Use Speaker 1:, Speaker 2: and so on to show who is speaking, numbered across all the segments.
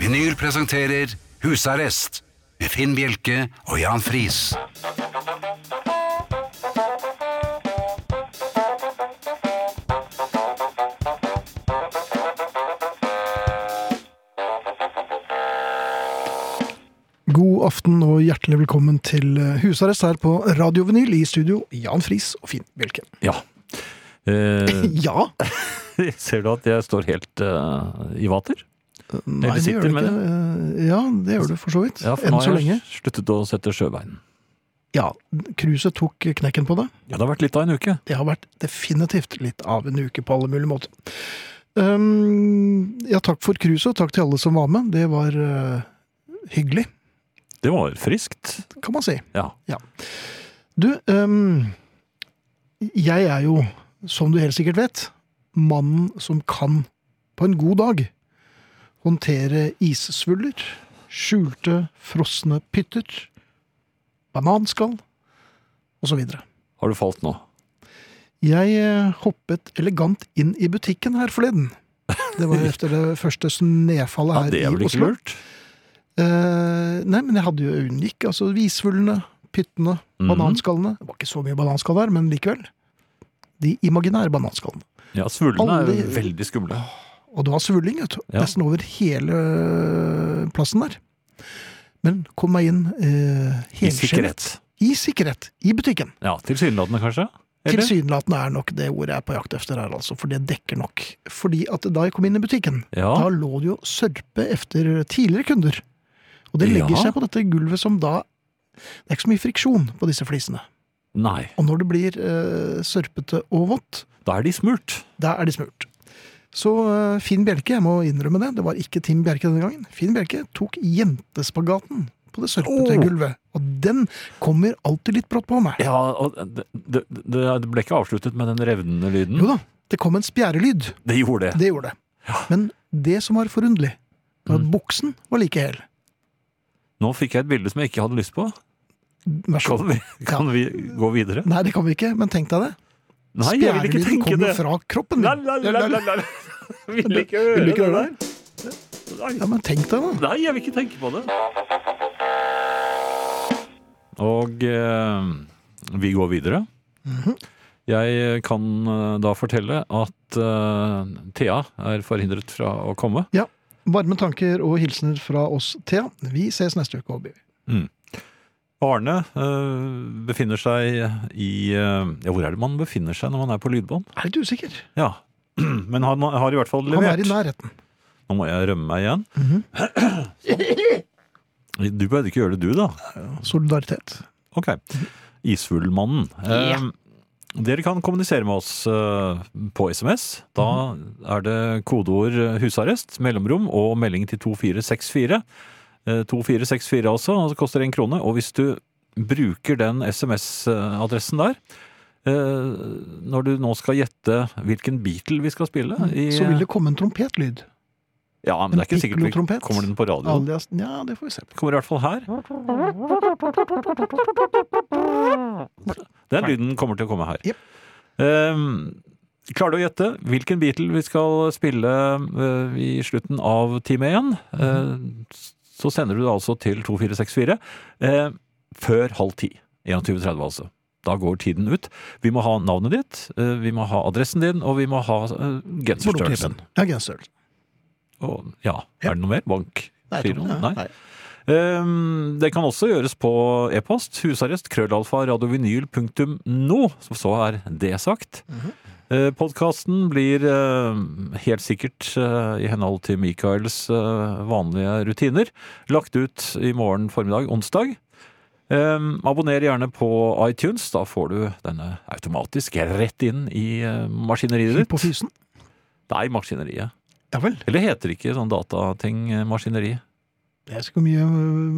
Speaker 1: Vinyl presenterer Husarrest med Finn Bjelke og Jan Friis.
Speaker 2: God aften og hjertelig velkommen til eh, husarrest her på Radio Vinyl i studio, Jan Friis og Finn Bjelke.
Speaker 3: Ja. Eh,
Speaker 2: Ja!
Speaker 3: ser du at jeg står helt eh, i vater?
Speaker 2: Nei, det
Speaker 3: sitter
Speaker 2: gjør du
Speaker 3: med
Speaker 2: ikke. Eh, Ja, det gjør du for så vidt.
Speaker 3: Ja, for
Speaker 2: Enn
Speaker 3: nå
Speaker 2: så
Speaker 3: har
Speaker 2: lenge.
Speaker 3: jeg sluttet å sette sjøbein.
Speaker 2: Ja, Cruiset tok knekken på det.
Speaker 3: Ja, det har vært litt av en uke.
Speaker 2: Det har vært definitivt litt av en uke på alle mulige måter. Um, ja, takk for cruiset, og takk til alle som var med. Det var eh, hyggelig,
Speaker 3: Det var friskt.
Speaker 2: kan man si.
Speaker 3: Ja.
Speaker 2: Du, ehm, jeg er jo, som du helt sikkert vet, mannen som kan, på en god dag, håndtere issvuller, skjulte, frosne pytter, bananskall, osv.
Speaker 3: Har du falt nå?
Speaker 2: Jeg eh, hoppet elegant inn i butikken her forleden. Det var etter det første snøfallet
Speaker 3: Ja,
Speaker 2: her
Speaker 3: det er
Speaker 2: i
Speaker 3: vel ikke
Speaker 2: Oslo.
Speaker 3: lurt?
Speaker 2: Eh, nei, men jeg hadde jo unik, altså visvullene, pyttene,
Speaker 3: Mhm.
Speaker 2: bananskallene. Det var ikke så mye bananskall der, men likevel. De imaginære bananskallene.
Speaker 3: Ja, svullene er
Speaker 2: Aldri-
Speaker 3: veldig skumle.
Speaker 2: Og det var svulling, vet du.
Speaker 3: Ja.
Speaker 2: Nesten over hele øh, plassen der. Men kom meg inn uh,
Speaker 3: I sikkerhet.
Speaker 2: I sikkerhet. I butikken.
Speaker 3: Ja, tilsynelatende kanskje? Eller?
Speaker 2: Tilsynelatende er nok det ordet jeg er på jakt etter her, altså. For det dekker nok. Fordi at da jeg kom inn i butikken,
Speaker 3: Ja,
Speaker 2: Da lå det jo sørpe efter tidligere kunder. Og det legger
Speaker 3: Ja.
Speaker 2: seg på dette gulvet som da Det er ikke så mye friksjon på disse flisene.
Speaker 3: nei.
Speaker 2: Og når det blir eh, sørpete og vått,
Speaker 3: Da er de smurt.
Speaker 2: da er de smurt. Så eh, Finn Bjelke, jeg må innrømme det, det var ikke Tim Bjerke denne gangen. Finn Bjelke tok jentespagaten på det sørpete
Speaker 3: Åh.
Speaker 2: gulvet. Og den kommer alltid litt brått på meg.
Speaker 3: Ja, og det, det, det det ble ikke avsluttet med den revnende lyden.
Speaker 2: Jo da, det kom en spjærelyd.
Speaker 3: Det gjorde det.
Speaker 2: Det gjorde det. Men det som var forunderlig, var
Speaker 3: Mm.
Speaker 2: at buksen var like hel.
Speaker 3: Nå fikk jeg et bilde som jeg ikke hadde lyst på.
Speaker 2: Vær så god.
Speaker 3: Kan vi, kan vi gå videre?
Speaker 2: Nei, det kan vi ikke, men tenk deg det.
Speaker 3: Nei, jeg vil ikke
Speaker 2: Spjærelyden
Speaker 3: tenke det.
Speaker 2: kommer fra kroppen.
Speaker 3: La, la, la, la, la, la. Vil ikke
Speaker 2: Vil du
Speaker 3: høre
Speaker 2: ikke
Speaker 3: det
Speaker 2: høre
Speaker 3: der.
Speaker 2: Ja, men tenk deg da.
Speaker 3: Nei, jeg vil ikke tenke på det. Og eh, vi går videre. Jeg kan eh, da fortelle at eh, Thea er forhindret fra å komme.
Speaker 2: Varme tanker og hilsener fra oss, Thea. Vi ses neste uke, Håby.
Speaker 3: Arne eh, befinner seg i eh, Ja, hvor er det man befinner seg når man er på lydbånd?
Speaker 2: Er litt usikker.
Speaker 3: Ja. Men han har i hvert fall
Speaker 2: Han er
Speaker 3: levert.
Speaker 2: i nærheten.
Speaker 3: Nå må jeg rømme meg igjen.
Speaker 2: Mhm.
Speaker 3: Du behøvde ikke gjøre det, du, da.
Speaker 2: Solidaritet.
Speaker 3: Ok. Isfuglmannen. Eh, Dere kan kommunisere med oss eh, på SMS. Da
Speaker 2: Mhm.
Speaker 3: er det kodeord eh, 'husarrest', mellomrom og melding til 2464. Eh, 2464 altså, og det koster én krone. Og hvis du bruker den SMS-adressen der eh, Når du nå skal gjette hvilken Beatle vi skal spille i
Speaker 2: Mm. Så
Speaker 4: eh,
Speaker 2: vil det komme en trompetlyd.
Speaker 3: Ja, men det er ikke
Speaker 2: en
Speaker 3: sikkert vi
Speaker 2: piccolo-trompet.
Speaker 3: kommer den på radioen.
Speaker 2: Alias Nja, det får vi se. på.
Speaker 3: Kommer i hvert fall her. Den lyden kommer til å komme her.
Speaker 2: Jep.
Speaker 3: Ehm, klarer du å gjette hvilken Beatle vi skal spille eh, i slutten av time 1? så sender du det altså til 2464 eh, før halv ti. 21.30 altså. Da går tiden ut. Vi må ha navnet ditt, eh, vi må ha adressen din, og vi må ha uh, genserstørrelsen.
Speaker 2: Ja, genserstørrelsen.
Speaker 3: Og, ja,
Speaker 2: Ja.
Speaker 3: er det noe mer? Bank?
Speaker 2: Nei, jeg tror-
Speaker 3: Giroen?
Speaker 2: ja,
Speaker 3: Nei. Ehm, Det kan også gjøres på e-post. Husarrest krøllalfa radiovinyl.no. Så- Så er det sagt. Podkasten blir eh, helt sikkert, eh, i henhold til Michaels eh, vanlige rutiner, lagt ut i morgen formiddag, onsdag. Ehm, abonner gjerne på iTunes. Da får du denne automatisk rett inn i eh, maskineriet
Speaker 2: På
Speaker 3: ditt.
Speaker 2: fysen.
Speaker 3: Nei, maskineriet.
Speaker 2: Ja vel.
Speaker 3: Eller heter det ikke sånn datating eh, maskineri?
Speaker 2: Jeg vet ikke hvor mye øh,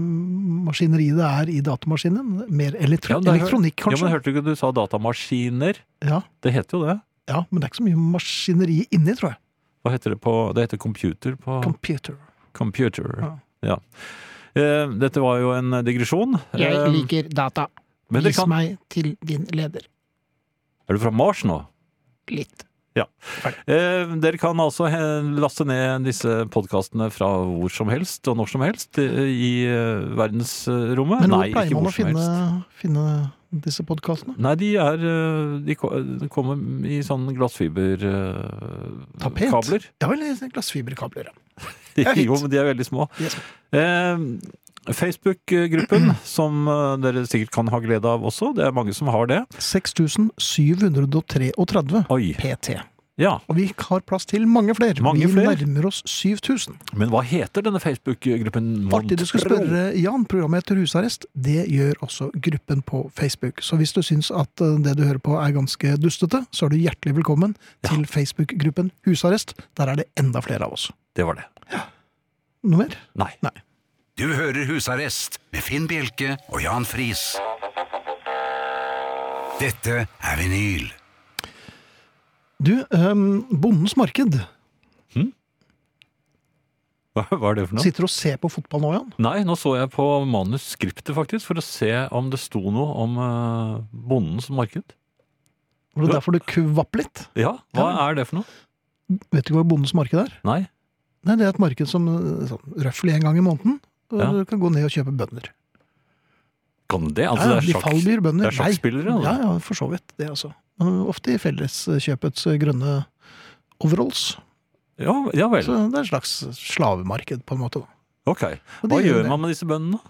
Speaker 2: maskineri det er i datamaskinen. Mer elektro
Speaker 3: Ja, det er-
Speaker 2: elektronikk,
Speaker 3: Ja, men
Speaker 2: kanskje.
Speaker 3: Hørte du ikke du sa datamaskiner?
Speaker 2: Ja,
Speaker 3: Det heter jo det.
Speaker 2: ja, men det er ikke så mye maskineri inni, tror jeg.
Speaker 3: Hva heter det på Det heter computer på
Speaker 2: Computer.
Speaker 3: Computer. Ja. Eh, Dette var jo en digresjon. Eh,
Speaker 4: Jeg liker data.
Speaker 3: men dere
Speaker 4: Vis
Speaker 3: kan,
Speaker 4: meg til din leder.
Speaker 3: er du fra Mars nå?
Speaker 4: Litt.
Speaker 3: Ja. Eh, dere kan altså eh, laste ned disse podkastene fra hvor som helst og når som helst eh, i eh, verdensrommet.
Speaker 2: Men hvor
Speaker 3: Nei,
Speaker 2: pleier
Speaker 3: ikke
Speaker 2: man
Speaker 3: hvor
Speaker 2: å
Speaker 3: som
Speaker 2: finne,
Speaker 3: helst.
Speaker 2: finne disse podkastene?
Speaker 3: Nei, de er eh, De ko- de kommer i sånn
Speaker 2: Tapet?
Speaker 3: glassfiberkabler.
Speaker 2: Ja vel, glassfiberkabler. ja. er fint.
Speaker 3: Jo, men de er veldig små.
Speaker 2: Yes.
Speaker 3: Eh, Facebook-gruppen, som eh, dere sikkert kan ha glede av også. Det er mange som har det.
Speaker 2: 6733
Speaker 3: Oi.
Speaker 2: PT.
Speaker 3: Ja.
Speaker 2: Og vi har plass til mange flere.
Speaker 3: Mange
Speaker 2: vi
Speaker 3: flere?
Speaker 2: nærmer oss 7000.
Speaker 3: Men hva heter denne Facebook-gruppen?
Speaker 2: Artig du skulle
Speaker 3: Mon tro?
Speaker 2: spørre, Jan. Programmet heter Husarrest. Det gjør også gruppen på Facebook. Så hvis du syns at eh, det du hører på er ganske dustete, så er du hjertelig velkommen til Facebook-gruppen Husarrest. Der er det enda flere av oss.
Speaker 3: Det var det.
Speaker 2: Noe mer?
Speaker 3: Nei.
Speaker 1: Du hører Husarrest med Finn Bjelke og Jan Friis. Dette er vinyl.
Speaker 2: Du, ehm, Bondens Marked
Speaker 3: Hva, hva er det for noe?
Speaker 2: sitter og ser på fotball nå, Jan.
Speaker 3: Nei, nå så jeg på manuskriptet faktisk, for å se om det sto noe om eh, bondens marked.
Speaker 2: Var det
Speaker 3: Ja.
Speaker 2: derfor det kvapp litt?
Speaker 3: Ja, hva er det for noe?
Speaker 2: Vet du ikke hva Bondens Marked er?
Speaker 3: Nei.
Speaker 2: Nei, Det er et marked som eh, sånn, røffelig en gang i måneden. og
Speaker 3: Ja.
Speaker 2: Du kan gå ned og kjøpe bønder.
Speaker 3: Kan det? Altså,
Speaker 2: ja,
Speaker 3: det er
Speaker 2: de
Speaker 3: sjakk-
Speaker 2: faller bønder.
Speaker 3: det er sjakkspillere,
Speaker 2: Nei.
Speaker 3: altså.
Speaker 2: Ja, ja, for så vidt. Det, altså. Men Ofte i felleskjøpets eh, grønne overalls.
Speaker 3: Ja, ja vel.
Speaker 2: Så det er et slags slavemarked, på en måte. da.
Speaker 3: Ok.
Speaker 2: Og
Speaker 3: Hva
Speaker 2: de gjør
Speaker 3: gjør
Speaker 2: det.
Speaker 3: man med disse bøndene?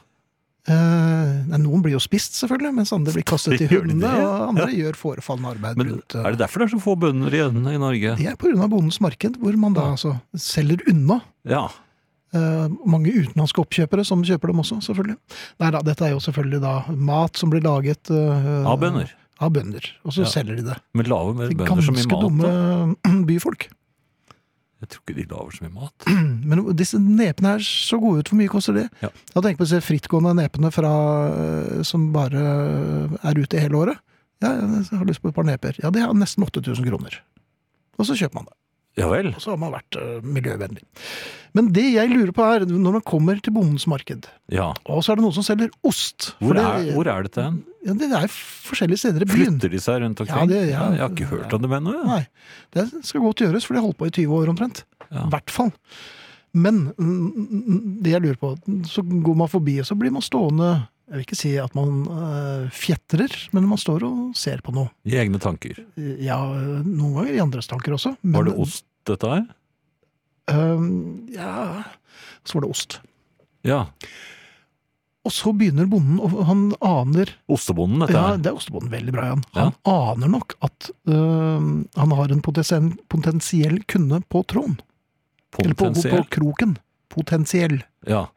Speaker 2: Eh, nei, noen blir jo spist, selvfølgelig, mens andre blir kastet
Speaker 3: De
Speaker 2: til
Speaker 3: gjør de
Speaker 2: hundene.
Speaker 3: det?
Speaker 2: Og andre gjør forefallende arbeid
Speaker 3: Men
Speaker 2: rundt eh,
Speaker 3: er det derfor det er så få bønder igjen i Norge?
Speaker 2: Det er pga. bondens marked, hvor man da altså selger unna.
Speaker 3: Ja.
Speaker 2: eh, mange utenlandske oppkjøpere som kjøper dem også, selvfølgelig. Nei da, dette er jo selvfølgelig da mat som blir laget eh,
Speaker 3: Av bønder.
Speaker 2: Av bønder. Og så
Speaker 3: Ja.
Speaker 2: selger de det.
Speaker 3: Men laver mer
Speaker 2: Til
Speaker 3: bønder så mye
Speaker 2: ganske
Speaker 3: mat?
Speaker 2: dumme eh,
Speaker 3: da?
Speaker 2: byfolk.
Speaker 3: Jeg tror ikke de laver så mye mat.
Speaker 2: Men disse nepene her så gode ut. Hvor mye koster de?
Speaker 3: Ja.
Speaker 2: Jeg hadde tenkt på disse frittgående nepene fra, eh, som bare eh, er ute hele året. Ja, jeg har lyst på et par neper. Ja, det er nesten 8000 kroner. Og så kjøper man det.
Speaker 3: Ja vel.
Speaker 2: Og så har man vært eh, miljøvennlig. Men det jeg lurer på er, når man kommer til bondens marked,
Speaker 3: Ja.
Speaker 2: og så er det noen som selger ost for
Speaker 3: Hvor
Speaker 2: det,
Speaker 3: er, hvor er dette hen?
Speaker 2: Ja, det er forskjellige steder i byen.
Speaker 3: Flytter de seg rundt omkring?
Speaker 2: Ja, det- ja.
Speaker 3: Jeg har ikke hørt om dem ennå. jeg.
Speaker 2: Nei, det skal godt gjøres, for de har holdt på i 20 år omtrent. I
Speaker 3: Ja.
Speaker 2: hvert fall. Men mm, mm, det jeg lurer på, så går man forbi, og så blir man stående Jeg vil ikke si at man eh, fjetrer, men man står og ser på noe.
Speaker 3: I egne tanker.
Speaker 2: Ja, noen ganger i andres tanker også. Men,
Speaker 3: Var det ost, dette her?
Speaker 2: eh, ja, så var det ost.
Speaker 3: Ja.
Speaker 2: Og så begynner bonden, og han aner
Speaker 3: Ostebonden, dette
Speaker 2: Ja,
Speaker 3: her.
Speaker 2: det er ostebonden. Veldig bra, Jan. Han aner nok at øh, han har en potensiell, potensiell kunde på tråden. Eller på, på, på
Speaker 3: Potensielt.
Speaker 2: kroken. Potensiell.
Speaker 3: Ja.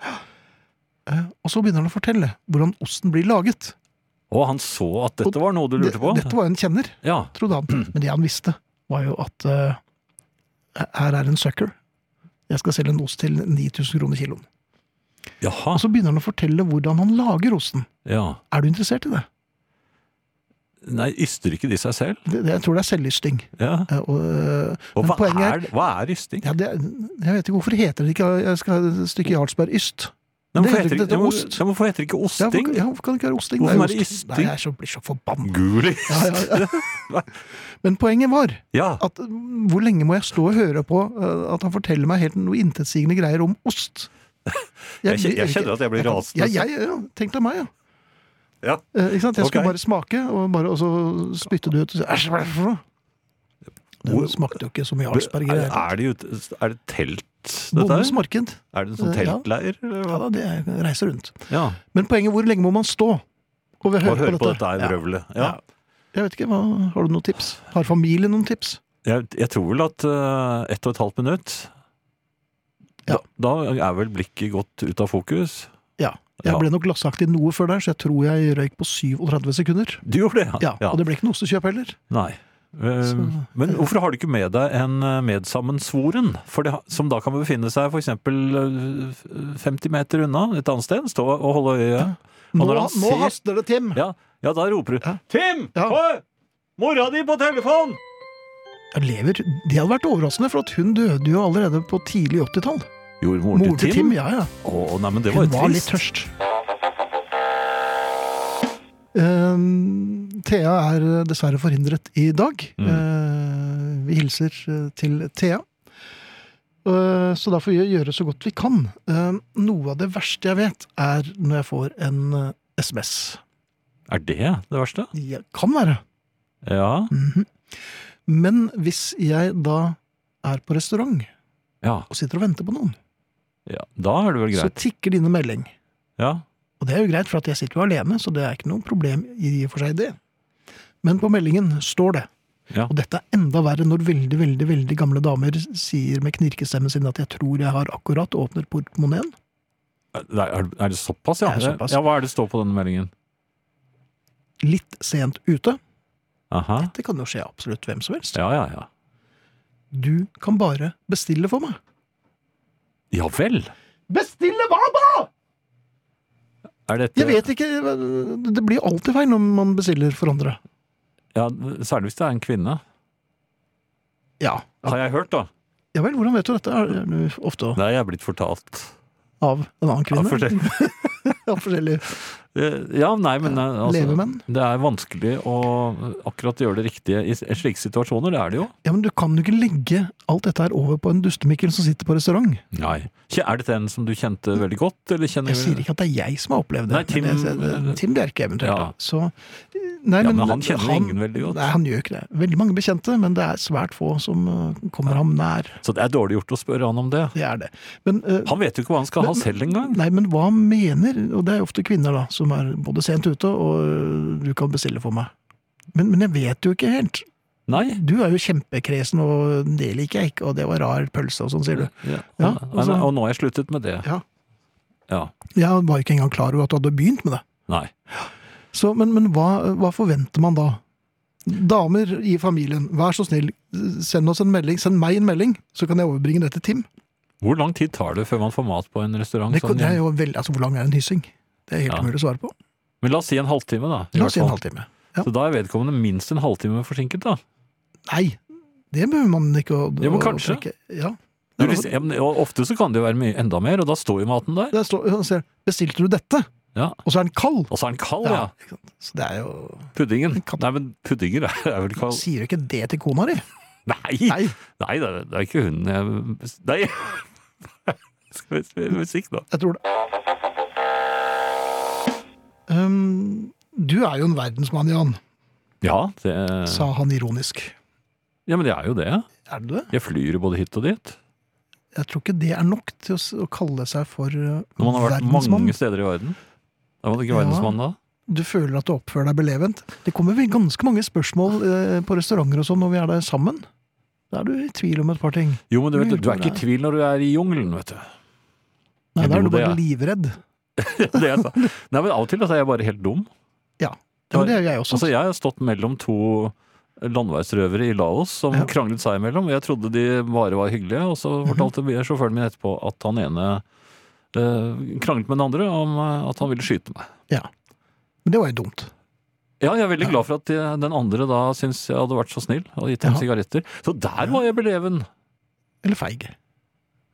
Speaker 2: Eh, og så begynner han å fortelle hvordan osten blir laget.
Speaker 3: Og han så at dette var noe du lurte på? Mm.
Speaker 2: Det- Dette var jo en kjenner,
Speaker 3: Ja.
Speaker 2: trodde han. Men det han visste, var jo at øh, her er en sucker. Jeg skal selge en ost til 9000 kroner kiloen.
Speaker 3: Jaha.
Speaker 2: Og så begynner han å fortelle hvordan han lager osten.
Speaker 3: Ja.
Speaker 2: Er du interessert i det?
Speaker 3: Nei, yster ikke de seg selv?
Speaker 2: det, det jeg tror det er selvlysting.
Speaker 3: Ja.
Speaker 2: Eh, og, øh,
Speaker 3: Og
Speaker 2: men
Speaker 3: hva
Speaker 2: poenget
Speaker 3: er, hva er ysting?
Speaker 2: Ja, det, jeg vet ikke hvorfor heter det ikke jeg skal ha et stykke Jarlsberg Yst.
Speaker 3: Nei,
Speaker 2: det
Speaker 3: hvorfor,
Speaker 2: heter
Speaker 3: heter
Speaker 2: ikke
Speaker 3: det,
Speaker 2: dette
Speaker 3: ja,
Speaker 2: ost?
Speaker 3: men hvorfor heter det ikke
Speaker 2: Ja,
Speaker 3: osting?
Speaker 2: hvorfor, ja, hvorfor kan det ikke være osting?
Speaker 3: Hvorfor
Speaker 2: jo
Speaker 3: er det
Speaker 2: ost.
Speaker 3: ysting?
Speaker 2: Nei, jeg er så, blir så forbanna.
Speaker 3: Gulis!
Speaker 2: Ja, ja, ja. Men poenget var
Speaker 3: Ja.
Speaker 2: at mm, hvor lenge må jeg stå og høre på eh, at han forteller meg helt noe intetsigende greier om ost?
Speaker 3: Jeg kje-
Speaker 2: blir-
Speaker 3: jeg kjenner at jeg blir
Speaker 2: kan-
Speaker 3: rasende.
Speaker 2: Ja, jeg, ja, tenk deg meg, ja.
Speaker 3: Ja.
Speaker 2: Eh, ikke sant? Jeg skulle
Speaker 3: Ok.
Speaker 2: bare smake, og, bare, og så spytte det ut og si æsj, hva er det for noe?
Speaker 3: Hvor-
Speaker 2: Det smakte jo ikke som
Speaker 3: Er,
Speaker 2: Jarlsberg. i det hele tatt.
Speaker 3: er, det, ute- er det telt, dette
Speaker 2: Bondens
Speaker 3: her?
Speaker 2: marked.
Speaker 3: Er det en sånn
Speaker 2: Eh, ja.
Speaker 3: teltleir? eller
Speaker 2: Ja
Speaker 3: hva?
Speaker 2: da, det jeg reiser rundt.
Speaker 3: Ja.
Speaker 2: Men poenget hvor lenge må man stå og høre,
Speaker 3: Og høre på dette
Speaker 2: Ja.
Speaker 3: her vrøvlet. Ja.
Speaker 2: Ja. Jeg vet ikke, hva, Har du noen tips? Har familien noen tips?
Speaker 3: Jeg, jeg tror vel at eh, ett og et halvt minutt
Speaker 2: Ja.
Speaker 3: da, da er vel blikket gått ut av fokus.
Speaker 2: Ja. Jeg
Speaker 3: Ja.
Speaker 2: ble nok glassaktig noe før der, så jeg tror jeg røyk på 37 sekunder.
Speaker 3: Du gjorde det,
Speaker 2: Ja, Og det ble ikke noe ostekjøp heller.
Speaker 3: Nei. Eh,
Speaker 2: Så-
Speaker 3: Men hvorfor har du ikke med deg en eh, medsammensvoren, for det, ha- som da kan befinne seg f.eks. 50 meter unna et annet sted? Stå og holde øye. Og
Speaker 2: Nå,
Speaker 3: når han
Speaker 2: nå
Speaker 3: ser-
Speaker 2: haster det, Tim!
Speaker 3: Ja, ja da roper du
Speaker 2: Ja.
Speaker 3: 'Tim!
Speaker 2: Ja.
Speaker 3: Hå! Mora di på telefon!'
Speaker 2: Jeg lever. Det hadde vært overraskende, for at hun døde jo allerede på tidlig 80-tall.
Speaker 3: Gjorde moren
Speaker 2: Moren
Speaker 3: til Tim?
Speaker 2: ja, ja.
Speaker 3: Å, nei, men det var
Speaker 2: Hun
Speaker 3: jo
Speaker 2: var litt
Speaker 3: trist.
Speaker 2: tørst. Ehm,
Speaker 3: Mm.
Speaker 2: Eh, Thea er dessverre forhindret i dag. Eh, vi hilser eh, til Thea. Eh, Så da får vi gjøre så godt vi kan. Eh, Noe av det verste jeg vet, er når jeg får en eh, SMS.
Speaker 3: Er det det verste?
Speaker 2: Ja, kan være.
Speaker 3: Ja.
Speaker 2: Mhm. Men hvis jeg da er på restaurant
Speaker 3: Ja,
Speaker 2: og sitter og venter på noen,
Speaker 3: ja. Da er det vel
Speaker 2: så
Speaker 3: greit.
Speaker 2: tikker dine melding.
Speaker 3: Ja.
Speaker 2: Og det er jo greit, for at jeg sitter jo alene, så det er ikke noe problem i og for seg det. Men på meldingen står det.
Speaker 3: Ja.
Speaker 2: Og dette er enda verre når veldig, veldig, veldig gamle damer sier med knirkestemmen sin at jeg tror jeg har akkurat åpnet portemoneen.
Speaker 3: Det Er, er det såpass, ja?
Speaker 2: Det er såpass.
Speaker 3: Ja, Hva er det står på denne meldingen?
Speaker 2: Litt sent ute.
Speaker 3: Aha.
Speaker 2: Dette kan jo skje absolutt hvem som helst.
Speaker 3: Ja, ja, ja.
Speaker 2: Du kan bare bestille for meg.
Speaker 3: Ja vel.
Speaker 2: Bestille hva da?!
Speaker 3: Er dette
Speaker 2: Jeg vet ikke. Det blir alltid feil når man bestiller for andre.
Speaker 3: Ja, Særlig hvis det er en kvinne.
Speaker 2: Ja.
Speaker 3: Har jeg hørt, da.
Speaker 2: Ja vel, hvordan vet du dette? Er det ofte
Speaker 3: Det er jeg blitt fortalt.
Speaker 2: av en annen
Speaker 3: Ja,
Speaker 2: kvinne?
Speaker 3: for det-
Speaker 2: Av forskjellige
Speaker 3: Eh, Ja, nei, men eh, altså,
Speaker 2: levemenn?
Speaker 3: Det er vanskelig å akkurat gjøre det riktige i s- slike situasjoner, det er det jo.
Speaker 2: Ja, men du kan jo ikke legge alt dette her over på en dustemikkel som sitter på restaurant.
Speaker 3: Nei. Kje- Er dette en som du kjente veldig godt, eller kjenner
Speaker 2: Jeg sier ikke at det er jeg som har opplevd det.
Speaker 3: Nei, Tim-
Speaker 2: men jeg, det- Tim Bjerke eventuelt.
Speaker 3: Ja.
Speaker 2: Så, nei,
Speaker 3: Ja,
Speaker 2: men,
Speaker 3: men han kjenner jo
Speaker 2: han-
Speaker 3: ingen veldig godt.
Speaker 2: Nei, han gjør ikke det. Veldig mange bekjente, men det er svært få som øh, kommer ham nær.
Speaker 3: Så det er dårlig gjort å spørre han om det.
Speaker 2: Det er det. Men, øh,
Speaker 3: Han vet jo ikke hva han skal ha
Speaker 2: Men-
Speaker 3: selv engang.
Speaker 2: nei, men hva mener Og det er jo ofte kvinner, da, som er både sent ute og øh, du kan bestille for meg. Men, men jeg vet jo ikke helt.
Speaker 3: Nei.
Speaker 2: Du er jo kjempekresen, og det liker jeg ikke, og det var rar pølse og sånn, sier du.
Speaker 3: Ja.
Speaker 2: Ja,
Speaker 3: nei,
Speaker 2: altså-
Speaker 3: nei, og nå har jeg sluttet med det.
Speaker 2: Ja.
Speaker 3: Ja.
Speaker 2: Jeg var ikke engang klar over at du hadde begynt med det.
Speaker 3: Nei.
Speaker 2: Så, men men hva, hva forventer man da? Damer i familien, vær så snill, send oss en melding. Send meg en melding, så kan jeg overbringe det til Tim.
Speaker 3: Hvor lang tid tar det før man får mat på en restaurant?
Speaker 2: Det,
Speaker 3: sånn
Speaker 2: det er
Speaker 3: igjen?
Speaker 2: jo veldig, altså, hvor lang er en hyssing? Det er helt
Speaker 3: Ja.
Speaker 2: umulig å svare på.
Speaker 3: Men la oss si en halvtime, da. i
Speaker 2: La
Speaker 3: hvert
Speaker 2: oss si en
Speaker 3: fall.
Speaker 2: halvtime. ja.
Speaker 3: Så da er vedkommende minst en halvtime forsinket, da.
Speaker 2: Nei, det behøver man ikke å
Speaker 3: Jo, men
Speaker 2: å
Speaker 3: kanskje.
Speaker 2: trekke. Ja. Ja,
Speaker 3: Du, ris- ja, men, og ofte så kan det jo være mye, enda mer, og da står jo maten der.
Speaker 2: Der står, han ser, Bestilte du dette?
Speaker 3: Ja.
Speaker 2: Og så er den kald!
Speaker 3: Og så er den kald, ja.
Speaker 2: ikke sant? Så det er jo
Speaker 3: Puddingen.
Speaker 2: Kan-
Speaker 3: Nei, men puddinger er er vel kald
Speaker 2: Sier du ikke det til kona di?
Speaker 3: Nei!
Speaker 2: Nei.
Speaker 3: Nei, det er, det er ikke hunden jeg bes- Nei! Skal vi spille musikk, da?
Speaker 2: Jeg tror det. Um, du er jo en verdensmann, Jan,
Speaker 3: Ja, det
Speaker 2: sa han ironisk.
Speaker 3: Ja, men jeg er jo det.
Speaker 2: Er du det?
Speaker 3: Jeg flyr jo både hit og dit.
Speaker 2: Jeg tror ikke det er nok til å, s- å kalle seg for eh,
Speaker 3: Når man har vært
Speaker 2: verdensmann.
Speaker 3: mange steder i verden. Da var det ikke
Speaker 2: Ja.
Speaker 3: verdensmann, da?
Speaker 2: Du føler at du oppfører deg belevent. Det kommer vel ganske mange spørsmål eh, på restauranter og sånn når vi er der sammen. Da er du i tvil om et par ting.
Speaker 3: Jo, men du, vet,
Speaker 2: Lurer
Speaker 3: du er
Speaker 2: på
Speaker 3: ikke i
Speaker 2: det.
Speaker 3: tvil når du er i jungelen, vet du.
Speaker 2: Nei,
Speaker 3: Jeg
Speaker 2: da er
Speaker 3: tror
Speaker 2: du bare
Speaker 3: det,
Speaker 2: livredd.
Speaker 3: Det er, sant. nei, men Av og til altså, er jeg bare helt dum.
Speaker 2: Ja, men det er jeg også.
Speaker 3: Altså, Jeg har stått mellom to landeveisrøvere i Laos som
Speaker 2: Ja. Mhm.
Speaker 3: kranglet seg imellom. Jeg trodde de bare var hyggelige, og så fortalte sjåføren min etterpå at han ene eh, kranglet med den andre om eh, at han ville skyte meg.
Speaker 2: Men det var jo dumt.
Speaker 3: Ja, jeg er veldig glad for at de, den andre da syntes jeg hadde vært så snill og gitt ham
Speaker 2: Ja.
Speaker 3: sigaretter. Så der var jeg beleven.
Speaker 2: Eller feig.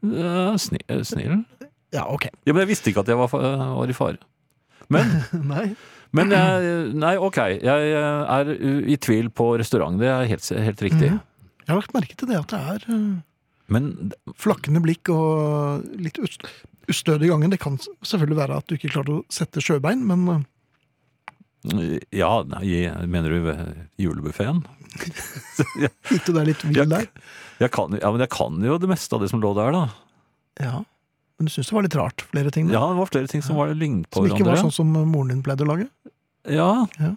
Speaker 3: Eh, sni- eh, Snill?
Speaker 2: Ja, ok.
Speaker 3: Ja, men jeg visste ikke at jeg var, fa- eh, var i fare. Men
Speaker 2: Nei.
Speaker 3: Men jeg, nei, ok, jeg eh, er i tvil på restaurant, det er helt, helt riktig.
Speaker 2: Mhm. Jeg har lagt merke til det at det er eh,
Speaker 3: Men
Speaker 2: flakkende blikk og litt ust ustødig i gangen. Det kan s- selvfølgelig være at du ikke klarte å sette sjøbein, men eh,
Speaker 3: ja, nei, mener du julebuffeen? jeg,
Speaker 2: gikk du deg litt vill
Speaker 3: Jeg-
Speaker 2: der?
Speaker 3: jeg kan, ja, men jeg kan jo det meste av det som lå der, da.
Speaker 2: Ja. Men du syns det var litt rart, flere ting? da?
Speaker 3: Ja, det var flere ting som var lignet på
Speaker 2: Som ikke var
Speaker 3: hverandre.
Speaker 2: sånn som moren din pleide å lage?
Speaker 3: Ja.
Speaker 2: Ja.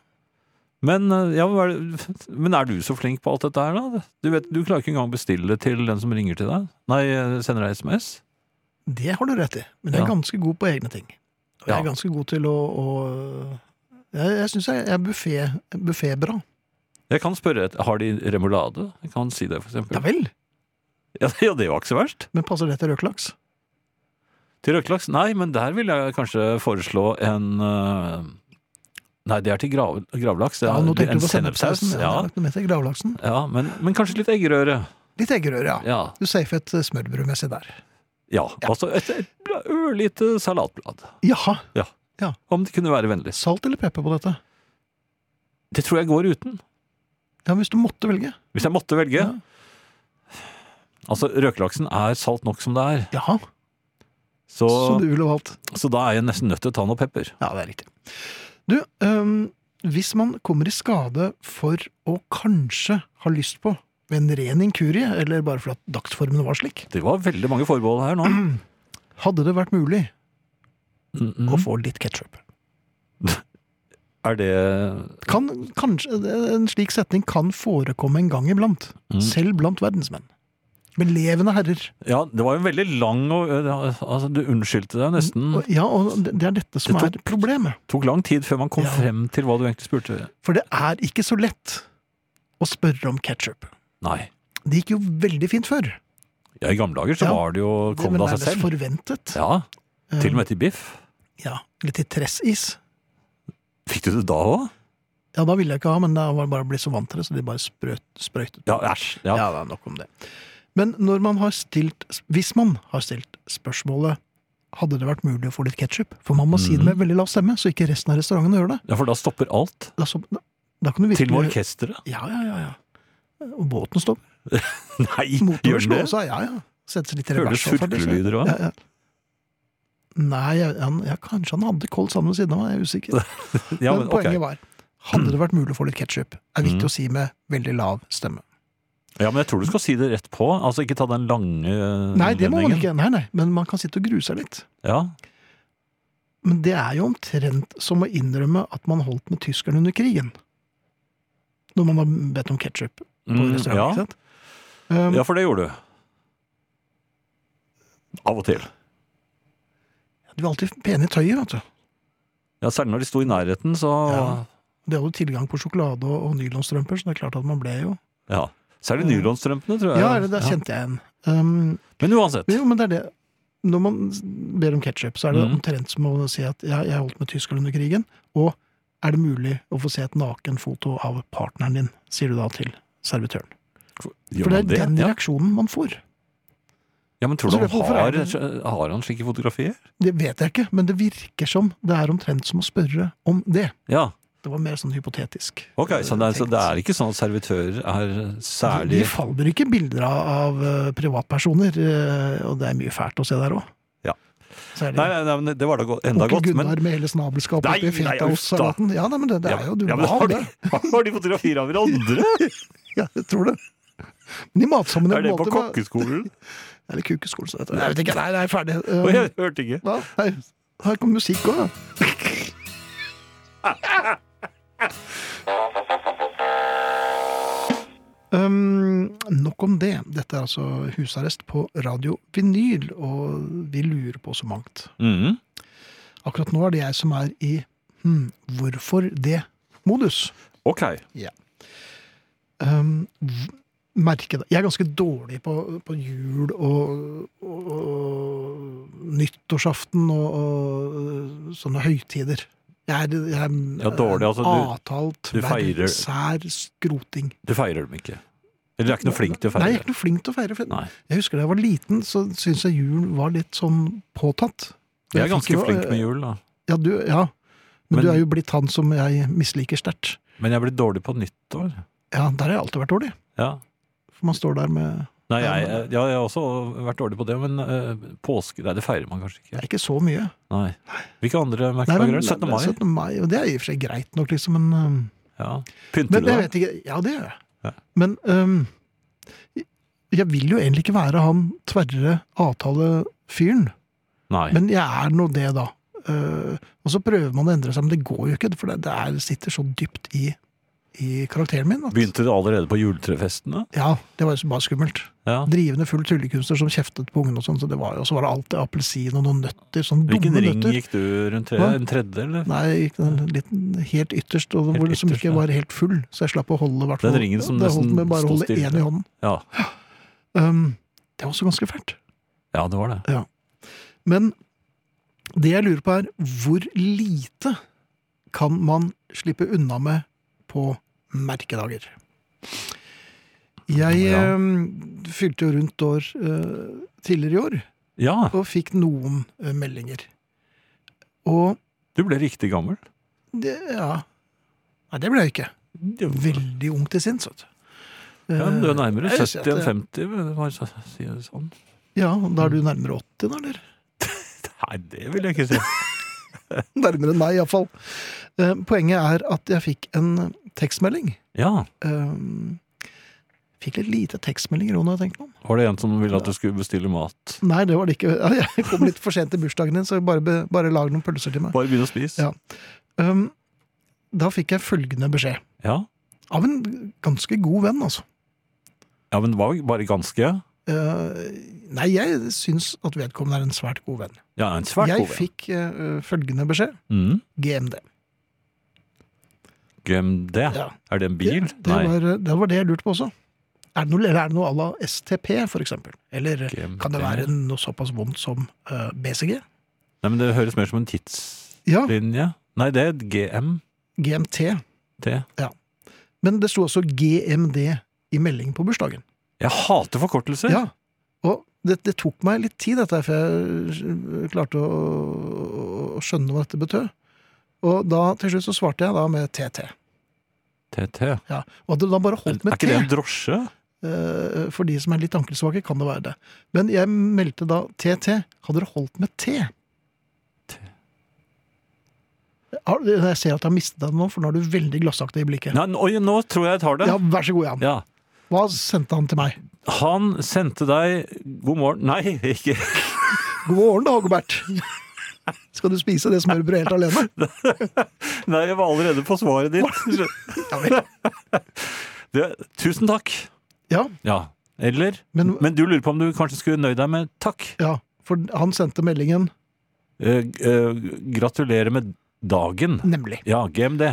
Speaker 3: Men, eh, ja, hva er det- men er du så flink på alt dette her, da? Du, vet, du klarer ikke engang bestille til den som ringer til deg? Nei, eh, sender deg SMS?
Speaker 2: Det har du rett i, men jeg er
Speaker 3: Ja.
Speaker 2: ganske god på egne ting. Og jeg
Speaker 3: Ja.
Speaker 2: er ganske god til å, å Jeg, jeg syns jeg er buffet- buffetbra.
Speaker 3: Jeg kan spørre, et- har de remulade? Jeg kan si det, for
Speaker 2: Ja
Speaker 3: eksempel.
Speaker 2: vel,
Speaker 3: Ja, det- ja, det var ikke så verst.
Speaker 2: men passer det til røkelaks?
Speaker 3: Til røkelaks? Nei, men der vil jeg kanskje foreslå en øh, Nei, det er til grav, gravlaks. Det er,
Speaker 2: Ja, nå tenker
Speaker 3: en
Speaker 2: du på sennepssausen. Ja.
Speaker 3: Ja,
Speaker 2: jeg har lagt noe med til Gravlaksen.
Speaker 3: ja men, men kanskje litt eggerøre.
Speaker 2: Litt eggerøre, ja.
Speaker 3: Ja.
Speaker 2: Du safer et eh, smørbrødmessig der.
Speaker 3: ja. Altså et, et ørlite salatblad.
Speaker 2: Jaha.
Speaker 3: Om det kunne være vennlig.
Speaker 2: Salt eller pepper på dette?
Speaker 3: Det tror jeg går uten.
Speaker 2: Ja, Hvis du måtte velge.
Speaker 3: Hvis jeg måtte velge.
Speaker 2: Ja.
Speaker 3: Altså, røkelaksen er salt nok som det er,
Speaker 2: Jaha,
Speaker 3: så,
Speaker 2: så
Speaker 3: så,
Speaker 2: du ville valgt.
Speaker 3: da er jeg nesten nødt til å ta noe pepper.
Speaker 2: Ja, det er riktig. Du, øhm, hvis man kommer i skade for å kanskje ha lyst på ved en ren inkurie, eller bare fordi dagsformen var slik,
Speaker 3: Det var veldig mange forbehold her nå.
Speaker 2: hadde det vært mulig
Speaker 3: Mm, mm.
Speaker 2: å få litt ketsjup?
Speaker 3: Er det
Speaker 2: Kan, kanskje, en slik setning kan forekomme en gang iblant,
Speaker 3: Mm.
Speaker 2: selv blant verdensmenn. Men levende herrer.
Speaker 3: Ja, det var jo en veldig lang og altså, Du unnskyldte deg nesten.
Speaker 2: Og- Ja, og det det er dette som
Speaker 3: Mm. Det
Speaker 2: er problemet.
Speaker 3: tok lang tid før man kom
Speaker 2: Ja.
Speaker 3: frem til hva du egentlig spurte.
Speaker 2: For det er ikke så lett å spørre om ketsjup.
Speaker 3: Nei.
Speaker 2: Det gikk jo veldig fint før.
Speaker 3: Ja, I gamle dager så
Speaker 2: Ja.
Speaker 3: var det jo kom
Speaker 2: men
Speaker 3: det av
Speaker 2: er
Speaker 3: seg selv.
Speaker 2: forventet.
Speaker 3: Ja, Til
Speaker 2: Eh,
Speaker 3: og med til biff.
Speaker 2: Ja, litt i tressis.
Speaker 3: Fikk du det da òg?
Speaker 2: Ja, da ville jeg ikke ha, men da var det bare å bli så vant til det, så de bare sprøt, sprøytet.
Speaker 3: Ja, æsj. Ja.
Speaker 2: det er nok om det. Men når man har stilt, hvis man har stilt spørsmålet hadde det vært mulig å få litt ketsjup? For man må si
Speaker 3: Mhm.
Speaker 2: det med veldig lav stemme, så ikke resten av restauranten hører det.
Speaker 3: ja, for da stopper alt.
Speaker 2: Da, så, da, da kan du virkelig...
Speaker 3: Til og med orkesteret.
Speaker 2: Ja, ja, ja, ja. Og båten står.
Speaker 3: Nei,
Speaker 2: Motoren
Speaker 3: gjør den
Speaker 2: slår
Speaker 3: det?
Speaker 2: seg, ja, ja. Sette seg litt i
Speaker 3: Hører du
Speaker 2: revers. og sånn, liksom.
Speaker 3: surklelyder òg?
Speaker 2: Ja, ja. Nei, jeg- han, ja, kanskje han hadde kolt sammen ved siden av meg, jeg er usikker.
Speaker 3: Ja,
Speaker 2: men,
Speaker 3: men ok.
Speaker 2: poenget var, hadde det vært mulig å få litt ketsjup, er viktig
Speaker 3: Mm.
Speaker 2: å si med veldig lav stemme.
Speaker 3: Ja, men jeg tror du skal si det rett på. Altså ikke ta den lange eh,
Speaker 2: Nei, det må man
Speaker 3: innledningen.
Speaker 2: ikke. Nei, nei, men man kan sitte og grue seg litt.
Speaker 3: Ja.
Speaker 2: Men det er jo omtrent som å innrømme at man holdt med tyskerne under krigen. Når man har bedt om ketsjup på
Speaker 3: Mm,
Speaker 2: restaurant,
Speaker 3: ja.
Speaker 2: ikke sant? Um,
Speaker 3: ja, for det gjorde du. Av og til.
Speaker 2: De var alltid pene i tøyet, vet du.
Speaker 3: Ja, Særlig når de sto i nærheten, så
Speaker 2: Ja. De hadde jo tilgang på sjokolade og, og nylonstrømper, så det er klart at man ble jo
Speaker 3: Ja. Særlig nylonstrømpene, tror jeg.
Speaker 2: Ja, eller der kjente jeg en. Um,
Speaker 3: Men uansett.
Speaker 2: men jo, men det er det. Når man ber om ketsjup, så er det
Speaker 3: Mm.
Speaker 2: omtrent som å si at ja, jeg holdt med tyskerne under krigen, og er det mulig å få se et nakenfoto av partneren din, sier du da til servitøren.
Speaker 3: Gjør
Speaker 2: For det
Speaker 3: man
Speaker 2: er den
Speaker 3: Ja.
Speaker 2: reaksjonen man får.
Speaker 3: ja, men
Speaker 2: Så
Speaker 3: tror du
Speaker 2: det-
Speaker 3: han
Speaker 2: Altså, hvorfor er
Speaker 3: har,
Speaker 2: det-
Speaker 3: har han slike fotografier?
Speaker 2: Det vet jeg ikke, men det virker som det er omtrent som å spørre om det.
Speaker 3: Ja.
Speaker 2: Det var mer sånn hypotetisk.
Speaker 3: Ok, så det, er, så
Speaker 2: tenkt.
Speaker 3: det er ikke sånn at servitører er
Speaker 2: De
Speaker 3: særlig
Speaker 2: faller ikke bilder av, av eh, privatpersoner, eh, og det er mye fælt å se der òg.
Speaker 3: Ja.
Speaker 2: Særlig
Speaker 3: Nei, nei, nei, men det var da go- enda
Speaker 2: onkel
Speaker 3: godt, men
Speaker 2: Gunnar med hele snabelskapet
Speaker 3: Nei,
Speaker 2: oppi
Speaker 3: nei,
Speaker 2: fetaostsalaten. Ja, nei, men det, det er jo Du
Speaker 3: ja, men
Speaker 2: må ha
Speaker 3: har de,
Speaker 2: det.
Speaker 3: har de fotografier av hverandre?
Speaker 2: Ja, jeg tror det. Men i matsammenheng
Speaker 3: Er det på
Speaker 2: måte, men-
Speaker 3: kokkeskolen?
Speaker 2: Eller kukeskolen, som det heter. Jeg vet ikke. Nei, det er ferdig.
Speaker 3: Og
Speaker 2: Eh,
Speaker 3: jeg hørte ikke.
Speaker 2: hva? Nei, her kommer musikk òg, ja. Um, nok om det. Dette er altså husarrest på radio vinyl, og vi lurer på så mangt.
Speaker 3: Mhm.
Speaker 2: Akkurat nå er det jeg som er i hm, hvorfor det-modus.
Speaker 3: Ok.
Speaker 2: Um, v- merke det. Jeg er ganske dårlig på, på jul og, og, og nyttårsaften og, og sånne høytider. Jeg er, jeg er
Speaker 3: Ja, dårlig, altså, du-
Speaker 2: avtalt,
Speaker 3: du feirer-
Speaker 2: sær, skroting.
Speaker 3: Du feirer dem ikke. Eller du er ikke noe flink til
Speaker 2: Nei, jeg
Speaker 3: å
Speaker 2: er
Speaker 3: feire.
Speaker 2: ikke noe flink til å feire. For
Speaker 3: Nei.
Speaker 2: Jeg husker da jeg var liten, så syntes jeg jul var litt sånn påtatt.
Speaker 3: Jeg er
Speaker 2: fikk
Speaker 3: ganske
Speaker 2: jo- eh,
Speaker 3: flink med jul, da.
Speaker 2: Ja, du, ja. Men,
Speaker 3: Men-
Speaker 2: du er jo blitt han som jeg misliker sterkt.
Speaker 3: Men jeg er blitt dårlig på nyttår.
Speaker 2: Ja, der har jeg alltid vært dårlig.
Speaker 3: Ja.
Speaker 2: For man står der med
Speaker 3: Nei, jeg, jeg, ja, jeg har også vært dårlig på det, men eh, påske Nei, det feirer man kanskje
Speaker 2: Det
Speaker 3: ikke.
Speaker 2: er ikke så mye.
Speaker 3: Nei. Hvilke
Speaker 2: Nei,
Speaker 3: andre
Speaker 2: men-
Speaker 3: merkedager er det? 17. mai?
Speaker 2: 17. mai, og Det er i og for seg greit nok, liksom, men øhm,
Speaker 3: Ja.
Speaker 2: Men
Speaker 3: Pynter
Speaker 2: jeg
Speaker 3: du deg?
Speaker 2: vet ikke Ja, det gjør jeg.
Speaker 3: Ja.
Speaker 2: Men øhm, jeg vil jo egentlig ikke være han tverre avtalefyren,
Speaker 3: Nei.
Speaker 2: men jeg er nå det, da. Øh, og så prøver man å endre seg, men det går jo ikke, for det, det er, sitter så dypt i, i karakteren min. At,
Speaker 3: Begynte du allerede på juletrefestene?
Speaker 2: ja, det var jo så bare skummelt.
Speaker 3: Ja.
Speaker 2: Drivende full tryllekunstner som kjeftet på ungene og sånn, så det var jo, og så var det alltid appelsin og noen nøtter, sånne
Speaker 3: Hvilken
Speaker 2: dumme
Speaker 3: ring
Speaker 2: nøtter.
Speaker 3: gikk du rundt? Tre,
Speaker 2: Hva?
Speaker 3: en tredje, eller?
Speaker 2: Nei, ikke den liten, helt ytterst, og
Speaker 3: Helt
Speaker 2: hvor det som
Speaker 3: ytterst,
Speaker 2: ikke
Speaker 3: ja.
Speaker 2: var helt full, så jeg slapp å holde hvert
Speaker 3: Den ringen som
Speaker 2: det holdt
Speaker 3: nesten
Speaker 2: med bare å
Speaker 3: sto
Speaker 2: holde
Speaker 3: stille.
Speaker 2: én i hånden.
Speaker 3: Ja.
Speaker 2: Um, det var også ganske fælt.
Speaker 3: ja, det var det.
Speaker 2: Men det jeg lurer på er, hvor lite kan man slippe unna med på merkedager? Jeg
Speaker 3: Ja.
Speaker 2: um, fylte jo rundt år eh, tidligere i år,
Speaker 3: Ja,
Speaker 2: og fikk noen eh, meldinger. Og
Speaker 3: du ble riktig gammel.
Speaker 2: det, ja Nei, det ble jeg ikke. Veldig ung til sinns, vet du.
Speaker 3: Ja, men du er nærmere
Speaker 2: Jeg
Speaker 3: 70
Speaker 2: sier
Speaker 3: enn
Speaker 2: at
Speaker 3: 50, men bare så- si det sånn.
Speaker 2: Eh, Ja, da er du nærmere 80, da, eller?
Speaker 3: Nei, det vil jeg ikke si.
Speaker 2: Nærmere meg, iallfall. Eh, Poenget er at jeg fikk en tekstmelding.
Speaker 3: Ja,
Speaker 2: Eh, Fikk litt lite tekstmeldinger òg, når jeg tenker meg om.
Speaker 3: Var det en som ville at du skulle bestille mat?
Speaker 2: Nei, det var det ikke. Jeg kom litt for sent til bursdagen din, så bare, be- bare lag noen pølser til meg.
Speaker 3: Bare begynne å spise?
Speaker 2: Ja. Um, da fikk jeg følgende beskjed.
Speaker 3: Ja,
Speaker 2: Av en ganske god venn, altså.
Speaker 3: Ja, men det var jo bare ganske
Speaker 2: Eh, nei, jeg syns at vedkommende er en svært god venn.
Speaker 3: Ja, en svært
Speaker 2: jeg
Speaker 3: god venn.
Speaker 2: fikk eh, følgende beskjed.
Speaker 3: Mm.
Speaker 2: GMD.
Speaker 3: Glem det.
Speaker 2: Ja.
Speaker 3: Er det en bil?
Speaker 2: Det, det,
Speaker 3: Nei.
Speaker 2: var, det var det jeg lurte på også. Er det noe, eller er det noe à la STP, for eksempel? Eller
Speaker 3: GMD.
Speaker 2: kan det være noe såpass vondt som eh, BCG?
Speaker 3: Nei, men det høres mer som en tidslinje.
Speaker 2: Ja,
Speaker 3: Nei, det er et GMT.
Speaker 2: GMT. Men det sto også GMD i melding på bursdagen.
Speaker 3: Jeg hater forkortelser!
Speaker 2: Ja, og det, det tok meg litt tid dette her, før jeg klarte å, å- å skjønne hva dette betød. Og da til slutt så svarte jeg da med TT.
Speaker 3: TT.
Speaker 2: Ja. Og at det da bare
Speaker 3: Er
Speaker 2: holdt med
Speaker 3: ikke det en
Speaker 2: T,
Speaker 3: drosje?
Speaker 2: eh, for de som er litt ankelsvake, kan det være det. Men jeg meldte da TT. Hadde det holdt med T?
Speaker 3: T.
Speaker 2: Har- Jeg ser at jeg har mistet deg nå, for nå er du veldig glassaktig i blikket.
Speaker 3: Nei, oi, nå tror jeg jeg tar det.
Speaker 2: Ja, vær så god, Jan.
Speaker 3: Ja.
Speaker 2: Hva sendte han til meg?
Speaker 3: Han sendte deg God morgen Nei, ikke
Speaker 2: God morgen, da, Hågebert. Skal du spise det smørbrødet helt alene?
Speaker 3: Nei, jeg var allerede på svaret ditt.
Speaker 2: Ja vel.
Speaker 3: Det, tusen takk.
Speaker 2: Ja,
Speaker 3: Ja. Eller men,
Speaker 2: Men-
Speaker 3: du lurer på om du kanskje skulle nøye deg med takk.
Speaker 2: Ja, for han sendte meldingen
Speaker 3: Eh, g- eh, gratulerer med dagen.
Speaker 2: nemlig.
Speaker 3: Ja, GMD.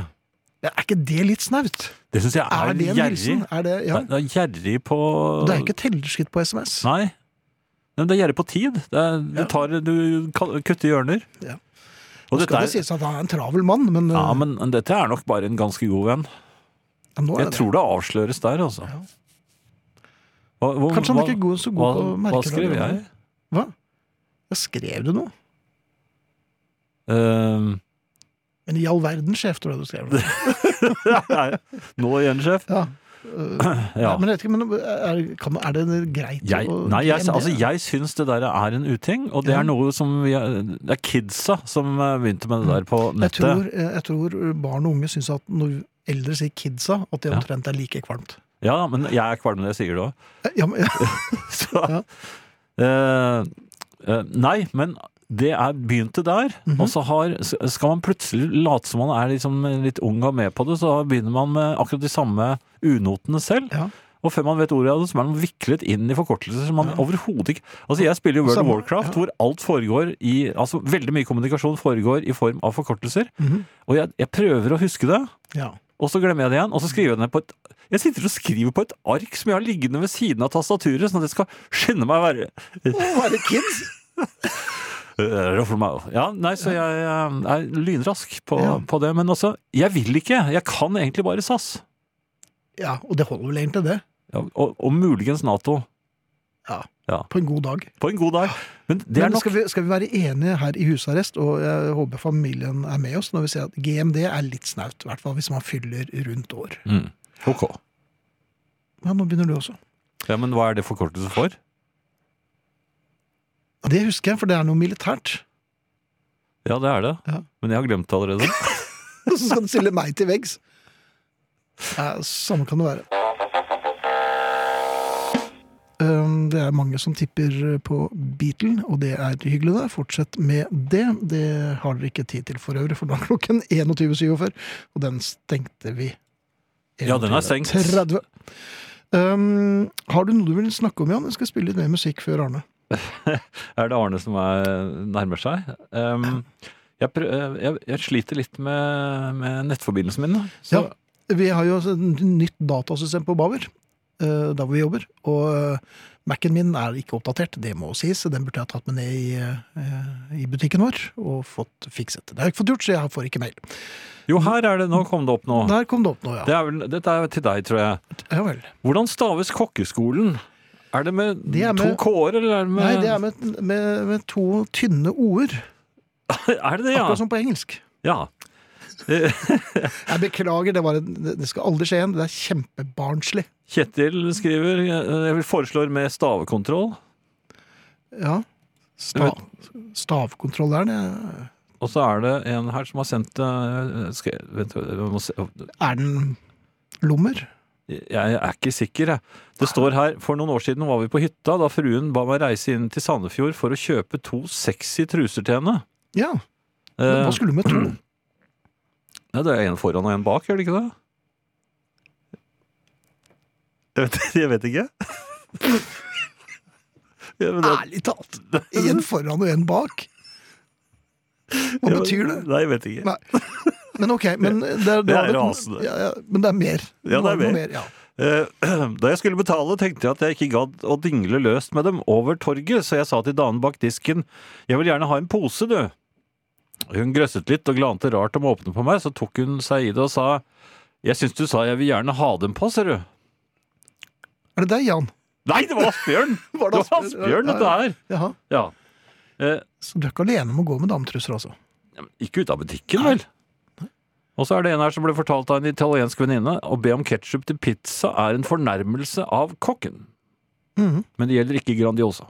Speaker 2: Er ikke det litt snaut?
Speaker 3: Det syns jeg er,
Speaker 2: Er det en
Speaker 3: gjerrig.
Speaker 2: hilsen? Er det, ja.
Speaker 3: Nei, Det er gjerrig på
Speaker 2: Det er ikke tellerskritt på SMS.
Speaker 3: Nei. Men det er gjerrig på tid. Det er, du,
Speaker 2: Ja.
Speaker 3: tar, du kal- kutter hjørner.
Speaker 2: Ja. Nå
Speaker 3: Og dette
Speaker 2: skal
Speaker 3: er,
Speaker 2: det sies at han er en travel mann, men,
Speaker 3: ja,
Speaker 2: øh,
Speaker 3: men dette er nok bare en ganske god venn.
Speaker 2: eh, ja, nå er
Speaker 3: Jeg
Speaker 2: det det.
Speaker 3: tror det avsløres der, altså.
Speaker 2: Ja.
Speaker 3: Hva- hvor-
Speaker 2: Kanskje han
Speaker 3: hva-
Speaker 2: ikke er god, så god på å
Speaker 3: hva,
Speaker 2: merke
Speaker 3: hva skrev
Speaker 2: det.
Speaker 3: jeg?
Speaker 2: Hva? Ja, skrev du noe?
Speaker 3: Ehm,
Speaker 2: Men i all verden, sjef, tror jeg du skrev noe.
Speaker 3: Nei, Eh, Nå igjen, sjef?
Speaker 2: Ja. øh,
Speaker 3: Ja.
Speaker 2: Men, jeg vet ikke, men er, kan, er det greit
Speaker 3: Jeg,
Speaker 2: å
Speaker 3: nei, jeg,
Speaker 2: glemme
Speaker 3: altså,
Speaker 2: det?
Speaker 3: jeg syns det der er en uting, og det
Speaker 2: Ja.
Speaker 3: er noe som vi er, Det er kidsa som eh, begynte med det der på
Speaker 2: jeg,
Speaker 3: nettet.
Speaker 2: tror, eh, jeg tror barn og unge syns at når eldre sier kidsa, at det
Speaker 3: Ja.
Speaker 2: omtrent er like kvalmt. Eh,
Speaker 3: Ja, men jeg er kvalm når jeg sier det òg.
Speaker 2: Ja, men,
Speaker 3: Så eh, eh, Nei, men det er begynte der,
Speaker 2: Mhm.
Speaker 3: og så har, skal man plutselig late som man er liksom litt ung og med på det, så begynner man med akkurat de samme unotene selv.
Speaker 2: ja.
Speaker 3: Og før man vet ordet av det, så er man viklet inn i forkortelser som man overhodet ikke Altså, jeg spiller jo World of
Speaker 2: Samme,
Speaker 3: Warcraft,
Speaker 2: ja.
Speaker 3: hvor alt foregår i Altså, veldig mye kommunikasjon foregår i form av forkortelser.
Speaker 2: Mhm.
Speaker 3: Og jeg, jeg prøver å huske det,
Speaker 2: ja.
Speaker 3: og så glemmer jeg det igjen. Og så skriver jeg det ned på et Jeg sitter og skriver på et ark som jeg har liggende ved siden av tastaturet, sånn at jeg skal skynde meg å være
Speaker 2: Å være kids!
Speaker 3: øh, ruffle meg opp. Ja, nei, så jeg øh, er lynrask på,
Speaker 2: Ja.
Speaker 3: på det. Men også, jeg vil ikke. Jeg kan egentlig bare SAS.
Speaker 2: Ja, og det holder vel egentlig det,
Speaker 3: Ja, og, og muligens Nato.
Speaker 2: på en god dag.
Speaker 3: På en god dag. Men det er
Speaker 2: Men
Speaker 3: nok
Speaker 2: skal, vi, skal vi være enige her i husarrest, og jeg håper familien er med oss når vi sier at GMD er litt snaut, i hvert fall hvis man fyller rundt år.
Speaker 3: mm. Ok.
Speaker 2: Ja, nå begynner du også.
Speaker 3: Ja, men hva er det forkortelse for?
Speaker 2: Ja, Det husker jeg, for det er noe militært.
Speaker 3: Ja, det er det.
Speaker 2: Ja.
Speaker 3: Men jeg har glemt det allerede.
Speaker 2: Og så skal du stille meg til veggs. Ja, samme kan det være. Um, Det er mange som tipper på Beatle, og det er hyggelig. det. Fortsett med det. Det har dere ikke tid til for øvrig, for nå er klokken 21.47, og den stengte vi.
Speaker 3: Ja, den er stengt.
Speaker 2: 21.30. Um, har du noe du vil snakke om, Jan? Jeg skal spille litt mer musikk før Arne.
Speaker 3: er det Arne som er, nærmer seg? Ehm, jeg, prø øh, jeg, jeg sliter litt med, med nettforbindelsen min. da. Så,
Speaker 2: Ja. Vi har jo et nytt datasystem på Bauer, eh, der hvor vi jobber. Og eh, Mac-en min er ikke oppdatert, det må sies. Den burde jeg ha tatt med ned i, eh, i butikken vår og fått fikset. Det har jeg ikke fått gjort, så jeg får ikke mail.
Speaker 3: Jo, her er det. Nå kom det opp nå.
Speaker 2: Der kom det opp nå, ja.
Speaker 3: Det er vel, dette er til deg, tror jeg.
Speaker 2: Ja vel.
Speaker 3: Hvordan staves kokkeskolen? Er det med,
Speaker 2: Det er
Speaker 3: to
Speaker 2: med-
Speaker 3: k-er, eller er det med
Speaker 2: Nei, det er med, med, med to tynne o-er.
Speaker 3: Er det det, ja?
Speaker 2: Akkurat som på engelsk.
Speaker 3: ja.
Speaker 2: Jeg beklager, det, var en, det det skal aldri skje igjen. Det er kjempebarnslig.
Speaker 3: Kjetil skriver eh, Jeg vil foreslår med stavekontroll.
Speaker 2: Ja. Stav, stavkontroll er det.
Speaker 3: Og så er det en her som har sendt eh, skal jeg, vent, jeg, må se,
Speaker 2: Er den lommer?
Speaker 3: jeg er ikke sikker, jeg. Det står her For noen år siden var vi på hytta da fruen ba meg reise inn til Sandefjord for å kjøpe to sexy truser til henne.
Speaker 2: Ja.
Speaker 3: Eh,
Speaker 2: Men hva skulle du med to?
Speaker 3: ja, det er en foran og en bak, gjør det ikke det? Jeg vet, jeg vet ikke. Ja, men det-
Speaker 2: Ærlig talt. Én foran og én bak. Hva
Speaker 3: ja, men-
Speaker 2: betyr det?
Speaker 3: Nei, jeg vet ikke.
Speaker 2: Nei. Men ok, men det er,
Speaker 3: Det er
Speaker 2: det-
Speaker 3: rasende.
Speaker 2: Ja, ja, men det er mer.
Speaker 3: Ja, det er
Speaker 2: var noe
Speaker 3: mer.
Speaker 2: ja.
Speaker 3: Eh, Da jeg skulle betale, tenkte jeg at jeg ikke gadd å dingle løst med dem over torget, så jeg sa til damen bak disken 'Jeg vil gjerne ha en pose, du'. Hun grøsset litt og glante rart om å åpne på meg, så tok hun seg i det og sa 'Jeg syns du sa jeg vil gjerne ha dem på, ser du'.
Speaker 2: Er det deg, Jan?
Speaker 3: Nei, det var Asbjørn!
Speaker 2: Var
Speaker 3: det
Speaker 2: det
Speaker 3: var
Speaker 2: Asbjørn?
Speaker 3: Asbjørn, dette her.
Speaker 2: Jaha.
Speaker 3: Ja. Eh,
Speaker 2: Så du er ikke alene om å gå med dametruser, altså?
Speaker 3: Ja, men Ikke ut av butikken, vel? Og så er det en her som ble fortalt av en italiensk venninne å be om ketsjup til pizza er en fornærmelse av kokken.
Speaker 2: Mhm.
Speaker 3: Men det gjelder ikke Grandiosa.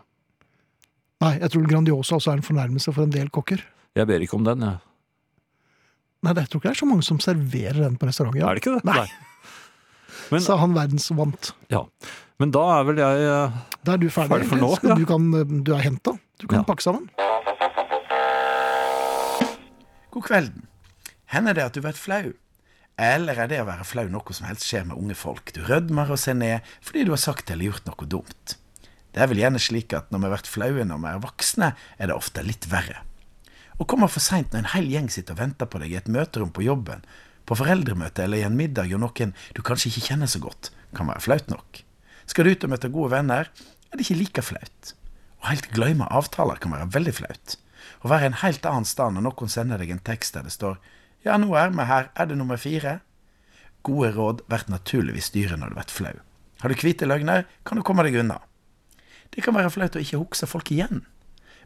Speaker 2: Nei, jeg tror Grandiosa også er en fornærmelse for en del kokker.
Speaker 3: Jeg ber ikke om den, jeg.
Speaker 2: Nei, det- jeg tror ikke det er så mange som serverer den på restaurant. Ja.
Speaker 3: Er det ikke det?
Speaker 2: Nei.
Speaker 3: Men,
Speaker 2: Sa han verdensvant.
Speaker 3: ja. Men da er vel jeg eh,
Speaker 2: Da er du ferdig.
Speaker 3: Ferdig for nå,
Speaker 2: Skal-
Speaker 3: ja.
Speaker 2: du, kan, eh, du er henta. Du kan
Speaker 3: Ja.
Speaker 2: pakke sammen.
Speaker 4: God kvelden. Hender det at du blir flau? Eller er det å være flau noe som helst skjer med unge folk? Du rødmer og ser ned fordi du har sagt eller gjort noe dumt. Det er vel gjerne slik at når vi har vært flaue når vi er voksne, er det ofte litt verre. Å komme for seint når en hel gjeng sitter og venter på deg i et møterom på jobben, på foreldremøte eller i en middag og noen du kanskje ikke kjenner så godt, kan være flaut nok. Skal du ut og møte gode venner, er det ikke like flaut. Å helt glemme avtaler kan være veldig flaut. Å være en helt annen sted når noen sender deg en tekst der det står 'Ja, nå er vi her, er det nummer fire?' Gode råd blir naturligvis dyre når du blir flau. Har du hvite løgner, kan du komme deg unna. Det kan være flaut å ikke huske folk igjen.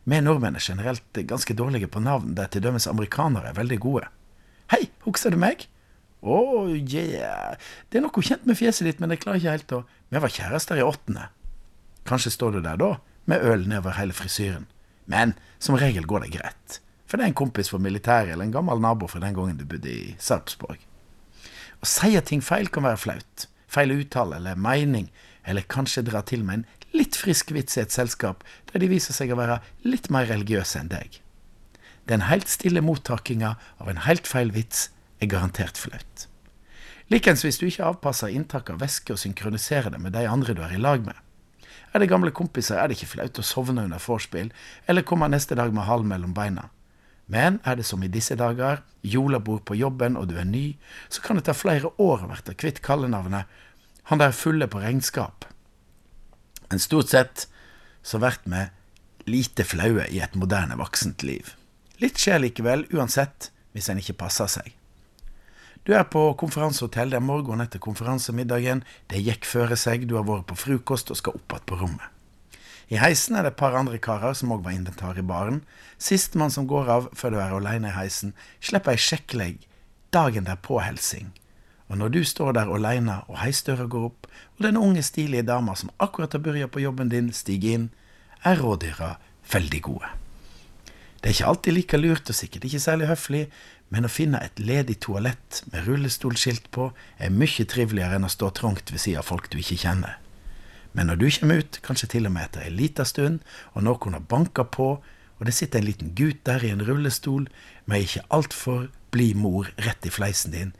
Speaker 4: Vi nordmenn er generelt ganske dårlige på navn, der til dømes amerikanere er veldig gode. Hei, husker du meg? Å, yeah. Det er noe kjent med fjeset ditt, men jeg klarer ikke helt å Vi var kjærester i åttende. Kanskje står du der da, med øl nedover hele frisyren. Men som regel går det greit. For det er en kompis fra militæret eller en gammel nabo fra den gangen du bodde i Sarpsborg. Å si at ting feil kan være flaut. Feil uttale eller mening. Eller kanskje dra til med en litt frisk vits i et selskap der de viser seg å være litt mer religiøse enn deg. Den helt stille mottakinga av en helt feil vits er garantert flaut. Likens hvis du ikke avpasser inntak av væske og synkroniserer det med de andre du er i lag med. Er det gamle kompiser, er det ikke flaut å sovne under vorspiel, eller komme neste dag med halen mellom beina. Men er det som i disse dager, julebord på jobben og du er ny, så kan det ta flere år å bli kvitt kallenavnet Han der fulle på regnskap. Men stort sett så blir vi lite flaue i et moderne voksent liv. Litt skjer likevel, uansett, hvis en ikke passer seg. Du er på konferansehotell, det er morgen etter konferansemiddagen, det gikk føre seg, du har vært på frokost og skal opp igjen på rommet. I heisen er det et par andre karer som òg var inventar i baren. Sistemann som går av før du er aleine i heisen, slipper ei sjekklegg dagen derpå-helsing. Og når du står der aleine og heisdøra går opp, og den unge, stilige dama som akkurat har begynt på jobben din, stiger inn, er rådyra veldig gode. Det er ikke alltid like lurt, og sikkert ikke særlig høflig, men å finne et ledig toalett med rullestolskilt på er mye triveligere enn å stå trangt ved siden av folk du ikke kjenner. Men når du kommer ut, kanskje til og med etter ei lita stund, og noen har banka på, og det sitter en liten gutt der i en rullestol med ei ikke altfor blid mor rett i fleisen din,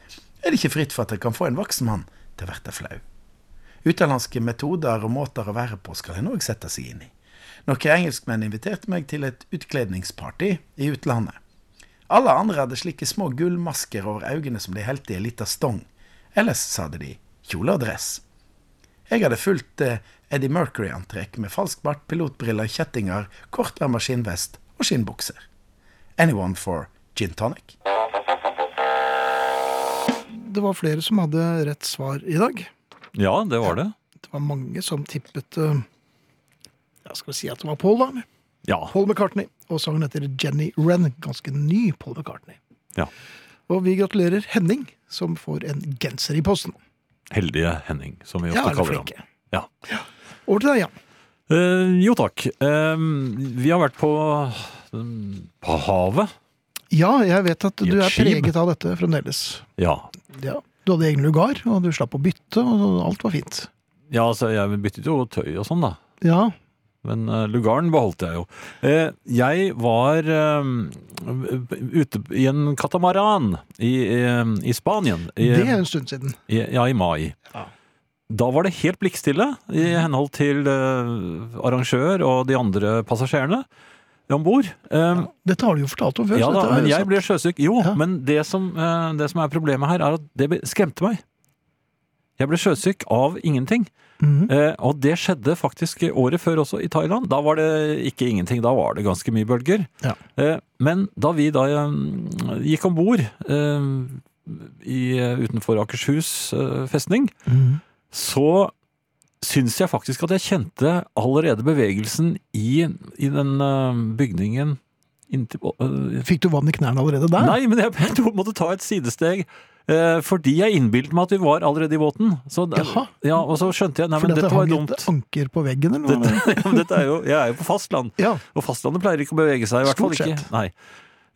Speaker 4: er det ikke fritt for at det kan få en voksen mann til å bli flau. Utenlandske metoder og måter å være på skal en òg sette seg inn i. Noen engelskmenn inviterte meg til et utkledningsparty i utlandet. Alle andre hadde slike små gullmasker over øynene som de helte i ei lita stong. Ellers, sa de, kjole og dress. Jeg hadde fulgt eh, Eddie Mercury-antrekk med falsk bart, pilotbriller, kjettinger, kortærma skinnvest og skinnbukser. Anyone for gin tonic?
Speaker 2: Det var flere som hadde rett svar i dag.
Speaker 3: Ja, det var det.
Speaker 2: Det var mange som tippet eh, Ja, skal vi si at det var Paul, da?
Speaker 3: Ja.
Speaker 2: Paul McCartney. Og sangen heter Jenny Wren. Ganske ny Paul McCartney.
Speaker 3: Ja.
Speaker 2: Og vi gratulerer Henning, som får en genser i posten.
Speaker 3: Heldige Henning, som vi ofte
Speaker 2: Ja, eller
Speaker 3: kaller ham.
Speaker 2: flinke.
Speaker 3: Ja.
Speaker 2: Over til deg, Jan.
Speaker 3: Eh, jo takk. Eh, vi har vært på, mm, på havet.
Speaker 2: Ja, jeg vet at
Speaker 3: I
Speaker 2: du
Speaker 3: et
Speaker 2: er
Speaker 3: skip.
Speaker 2: preget av dette fremdeles.
Speaker 3: Ja.
Speaker 2: Ja. Du hadde egen lugar, og du slapp å bytte, og alt var fint.
Speaker 3: ja, altså jeg byttet jo tøy og sånn, da.
Speaker 2: Ja,
Speaker 3: Men eh, lugaren beholdt jeg jo. Eh, jeg var eh, ute i en katamaran i, eh, i Spanien. I,
Speaker 2: det er en stund siden.
Speaker 3: i, ja, i mai. Da var det helt blikkstille i henhold til eh, arrangør og de andre passasjerene om bord. Eh,
Speaker 2: Dette har du jo fortalt om før.
Speaker 3: ja
Speaker 2: så
Speaker 3: da,
Speaker 2: dette er
Speaker 3: men
Speaker 2: jo
Speaker 3: jeg
Speaker 2: sant.
Speaker 3: ble sjøsyk. Jo,
Speaker 2: Ja.
Speaker 3: men det som, eh, det som er problemet her, er at det be- skremte meg. Jeg ble sjøsyk av ingenting.
Speaker 2: Mhm.
Speaker 3: Eh, og det skjedde faktisk året før også, i Thailand. Da var det ikke ingenting, da var det ganske mye bølger.
Speaker 2: Ja.
Speaker 3: Eh, men da vi da eh, gikk om bord eh, i, utenfor Akershus eh, festning,
Speaker 2: Mhm.
Speaker 3: så syns jeg faktisk at jeg kjente allerede bevegelsen i, i den eh, bygningen inntil, eh,
Speaker 2: Fikk du vann i knærne allerede der?
Speaker 3: Nei, men jeg, jeg tror jeg måtte ta et sidesteg. eh, fordi jeg innbilte meg at vi var allerede i båten. Så, da-
Speaker 2: Jaha.
Speaker 3: ja, og så skjønte jeg Nei,
Speaker 2: Fordi
Speaker 3: men
Speaker 2: at det
Speaker 3: dette
Speaker 2: hang
Speaker 3: var jo
Speaker 2: et
Speaker 3: dumt.
Speaker 2: anker på veggen, eller hva?
Speaker 3: Dette, ja, men dette er jo, jeg er jo på fastland,
Speaker 2: Ja,
Speaker 3: og fastlandet pleier ikke å bevege seg. I hvert fall
Speaker 2: Stort
Speaker 3: ikke.
Speaker 2: sett.
Speaker 3: Nei.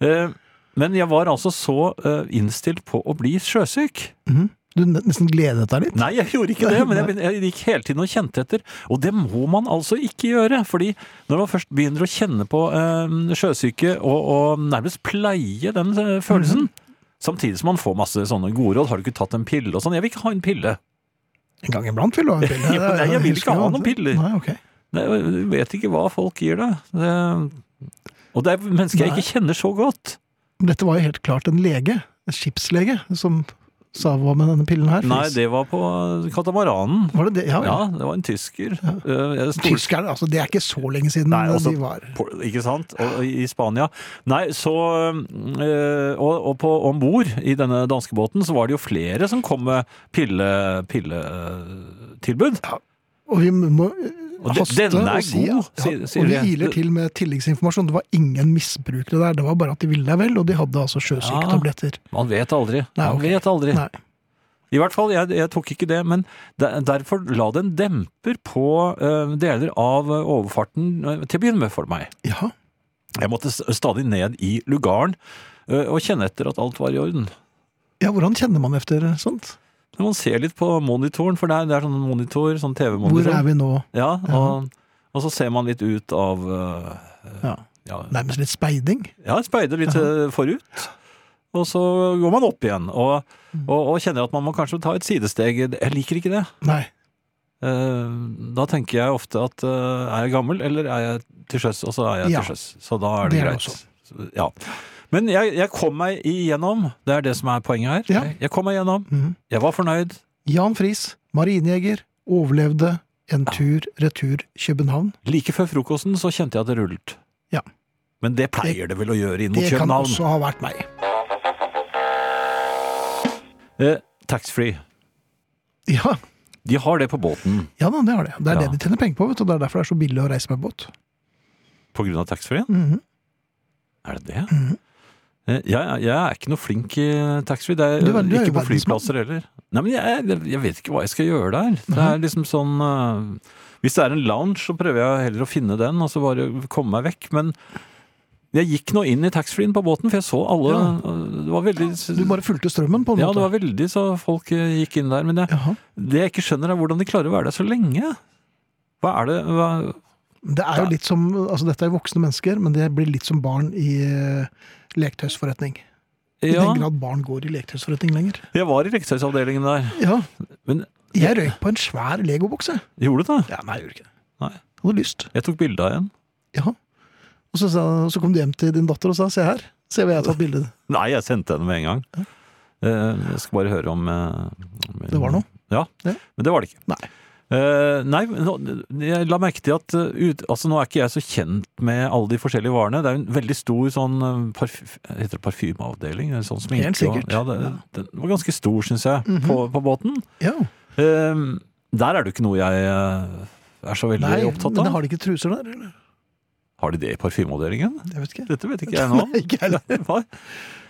Speaker 3: Eh, men jeg var altså så eh, innstilt på å bli sjøsyk.
Speaker 2: mhm. Du ne- nesten gledet deg litt.
Speaker 3: Nei, jeg gjorde ikke det, men jeg, begyn- jeg gikk hele tiden og kjente etter. Og det må man altså ikke gjøre, fordi når man først begynner å kjenne på eh, sjøsyke og, og nærmest pleie den eh, følelsen, samtidig som man får masse sånne gode råd, har du ikke tatt en pille og sånn, jeg vil ikke ha en pille.
Speaker 2: En gang iblant vil du ha en pille.
Speaker 3: Ja, nei, jeg vil ikke ha noen piller.
Speaker 2: Nei, ok.
Speaker 3: Nei, Du vet ikke hva folk gir deg. Det, og det er mennesker jeg
Speaker 2: Nei.
Speaker 3: ikke kjenner så godt.
Speaker 2: Men Dette var jo helt klart en lege, en skipslege, som sa hva med denne pillen her.
Speaker 3: Nei,
Speaker 2: finnes.
Speaker 3: det var på katamaranen.
Speaker 2: Var det det? Ja, ja.
Speaker 3: Ja, det var en tysker. Eh, jeg stol-
Speaker 2: Tyskerne, altså, det er ikke så lenge siden
Speaker 3: Nei,
Speaker 2: eh,
Speaker 3: altså-
Speaker 2: de var
Speaker 3: på, ikke sant? Og, I Spania. Nei, så øh, Og, og på om bord i denne danskebåten så var det jo flere som kom med pille- pilletilbud.
Speaker 2: Og vi må eh,
Speaker 3: Og de-
Speaker 2: haste
Speaker 3: denne er
Speaker 2: å si,
Speaker 3: god,
Speaker 2: ja,
Speaker 3: sier- sier
Speaker 2: og vi
Speaker 3: vi.
Speaker 2: iler til med tilleggsinformasjon. Det var ingen misbrukere der, det var bare at de ville deg vel, og de hadde altså sjøsyketabletter.
Speaker 3: Man vet aldri.
Speaker 2: Nei,
Speaker 3: Man
Speaker 2: ok.
Speaker 3: vet aldri.
Speaker 2: Nei.
Speaker 3: I hvert fall, jeg, jeg tok ikke det, men der, derfor la det en demper på øh, deler av øh, overfarten øh, til å begynne med for meg.
Speaker 2: Ja.
Speaker 3: Jeg måtte s- stadig ned i lugaren øh, og kjenne etter at alt var i orden.
Speaker 2: ja, hvordan kjenner man efter sånt?
Speaker 3: Men Man ser litt på monitoren, for det er, det er sånn monitor, sånn TV-monitor.
Speaker 2: Hvor er vi nå?
Speaker 3: Ja, og, og så ser man litt ut av eh,
Speaker 2: Ja.
Speaker 3: ja,
Speaker 2: Nærmest litt speiding.
Speaker 3: ja, speider litt eh, forut. Og så går man opp igjen, og,
Speaker 2: Mm.
Speaker 3: og, og kjenner at man må kanskje ta et sidesteg. Jeg liker ikke det.
Speaker 2: Nei.
Speaker 3: Eh, Da tenker jeg ofte at eh, er jeg gammel, eller er jeg til sjøs? Og så er jeg
Speaker 2: Ja.
Speaker 3: til sjøs. Så da er det,
Speaker 2: Det er det
Speaker 3: greit.
Speaker 2: også.
Speaker 3: Så- Ja. Men jeg, jeg kom meg igjennom. Det er det som er poenget her.
Speaker 2: Ja.
Speaker 3: Jeg, jeg kom meg igjennom.
Speaker 2: Mhm.
Speaker 3: Jeg var fornøyd.
Speaker 2: Jan Friis, marinejeger, overlevde en tur retur København.
Speaker 3: Like før frokosten så kjente jeg at det rullet.
Speaker 2: Ja.
Speaker 3: Men det pleier det vel å gjøre inn mot
Speaker 2: Det kan
Speaker 3: København.
Speaker 2: også ha vært meg.
Speaker 3: Eh, Taxfree.
Speaker 2: Ja,
Speaker 3: De har det på båten
Speaker 2: ja da, det har det. Det er
Speaker 3: Ja.
Speaker 2: det de tjener penger på, vet du. Det er derfor det er så billig å reise med båt.
Speaker 3: på grunn av taxfree.
Speaker 2: Mhm.
Speaker 3: Er det det? Eh, Jeg, jeg er ikke noe flink i taxfree. Det er,
Speaker 2: Du er- du er jo
Speaker 3: ikke på
Speaker 2: verdensmann.
Speaker 3: flyplasser heller. Nei, men jeg, jeg vet ikke hva jeg skal gjøre der. Det er
Speaker 2: Mhm.
Speaker 3: liksom sånn eh, Hvis det er en lounge, så prøver jeg heller å finne den, og så bare komme meg vekk. Men jeg gikk nå inn i taxfree-en på båten, for jeg så alle
Speaker 2: Ja.
Speaker 3: eh, Det var veldig
Speaker 2: Du bare fulgte strømmen på en
Speaker 3: Ja, det
Speaker 2: måte.
Speaker 3: var veldig så folk eh, gikk inn der. Men jeg,
Speaker 2: Jaha.
Speaker 3: det jeg ikke skjønner, er hvordan de klarer å være der så lenge. Hva er det hva,
Speaker 2: Det er jo litt som, altså Dette er voksne mennesker, men det blir litt som barn i uh, leketøysforretning. I
Speaker 3: Ja,
Speaker 2: den grad barn går i leketøysforretning lenger.
Speaker 3: jeg var i leketøysavdelingen der.
Speaker 2: Ja,
Speaker 3: Men
Speaker 2: Jeg røyk på en svær legobokse.
Speaker 3: gjorde du det?
Speaker 2: Ja, nei, jeg gjorde ikke det.
Speaker 3: Nei.
Speaker 2: Hadde lyst.
Speaker 3: Jeg tok bilde av en.
Speaker 2: Ja. Og så, sa, så kom du hjem til din datter og sa 'se her', se hva jeg har tatt bilde av.
Speaker 3: Nei, jeg sendte henne med en gang. Eh, Jeg skal bare høre om eh, om-
Speaker 2: Det var noe?
Speaker 3: Ja,
Speaker 2: Ja.
Speaker 3: men det var det ikke.
Speaker 2: Nei.
Speaker 3: Eh, nei, men nå- jeg la merke til at eh, ut, altså Nå er ikke jeg så kjent med alle de forskjellige varene. Det er jo en veldig stor sånn eh, parf heter det parfymeavdeling. eller Sånn sminke
Speaker 2: Helt
Speaker 3: og-
Speaker 2: sikkert. Mhm.
Speaker 3: Ja, det, den var ganske stor, syns jeg, på, på båten.
Speaker 2: Ja.
Speaker 3: Eh, der er det jo ikke noe jeg eh, er så veldig
Speaker 2: Nei,
Speaker 3: opptatt
Speaker 2: men
Speaker 3: av. Har...
Speaker 2: har de ikke truser der? Eller?
Speaker 3: de det i parfymeavdelingen?
Speaker 2: Jeg vet ikke.
Speaker 3: Dette vet ikke jeg nå.
Speaker 2: Nei, ikke heller.
Speaker 3: Hva?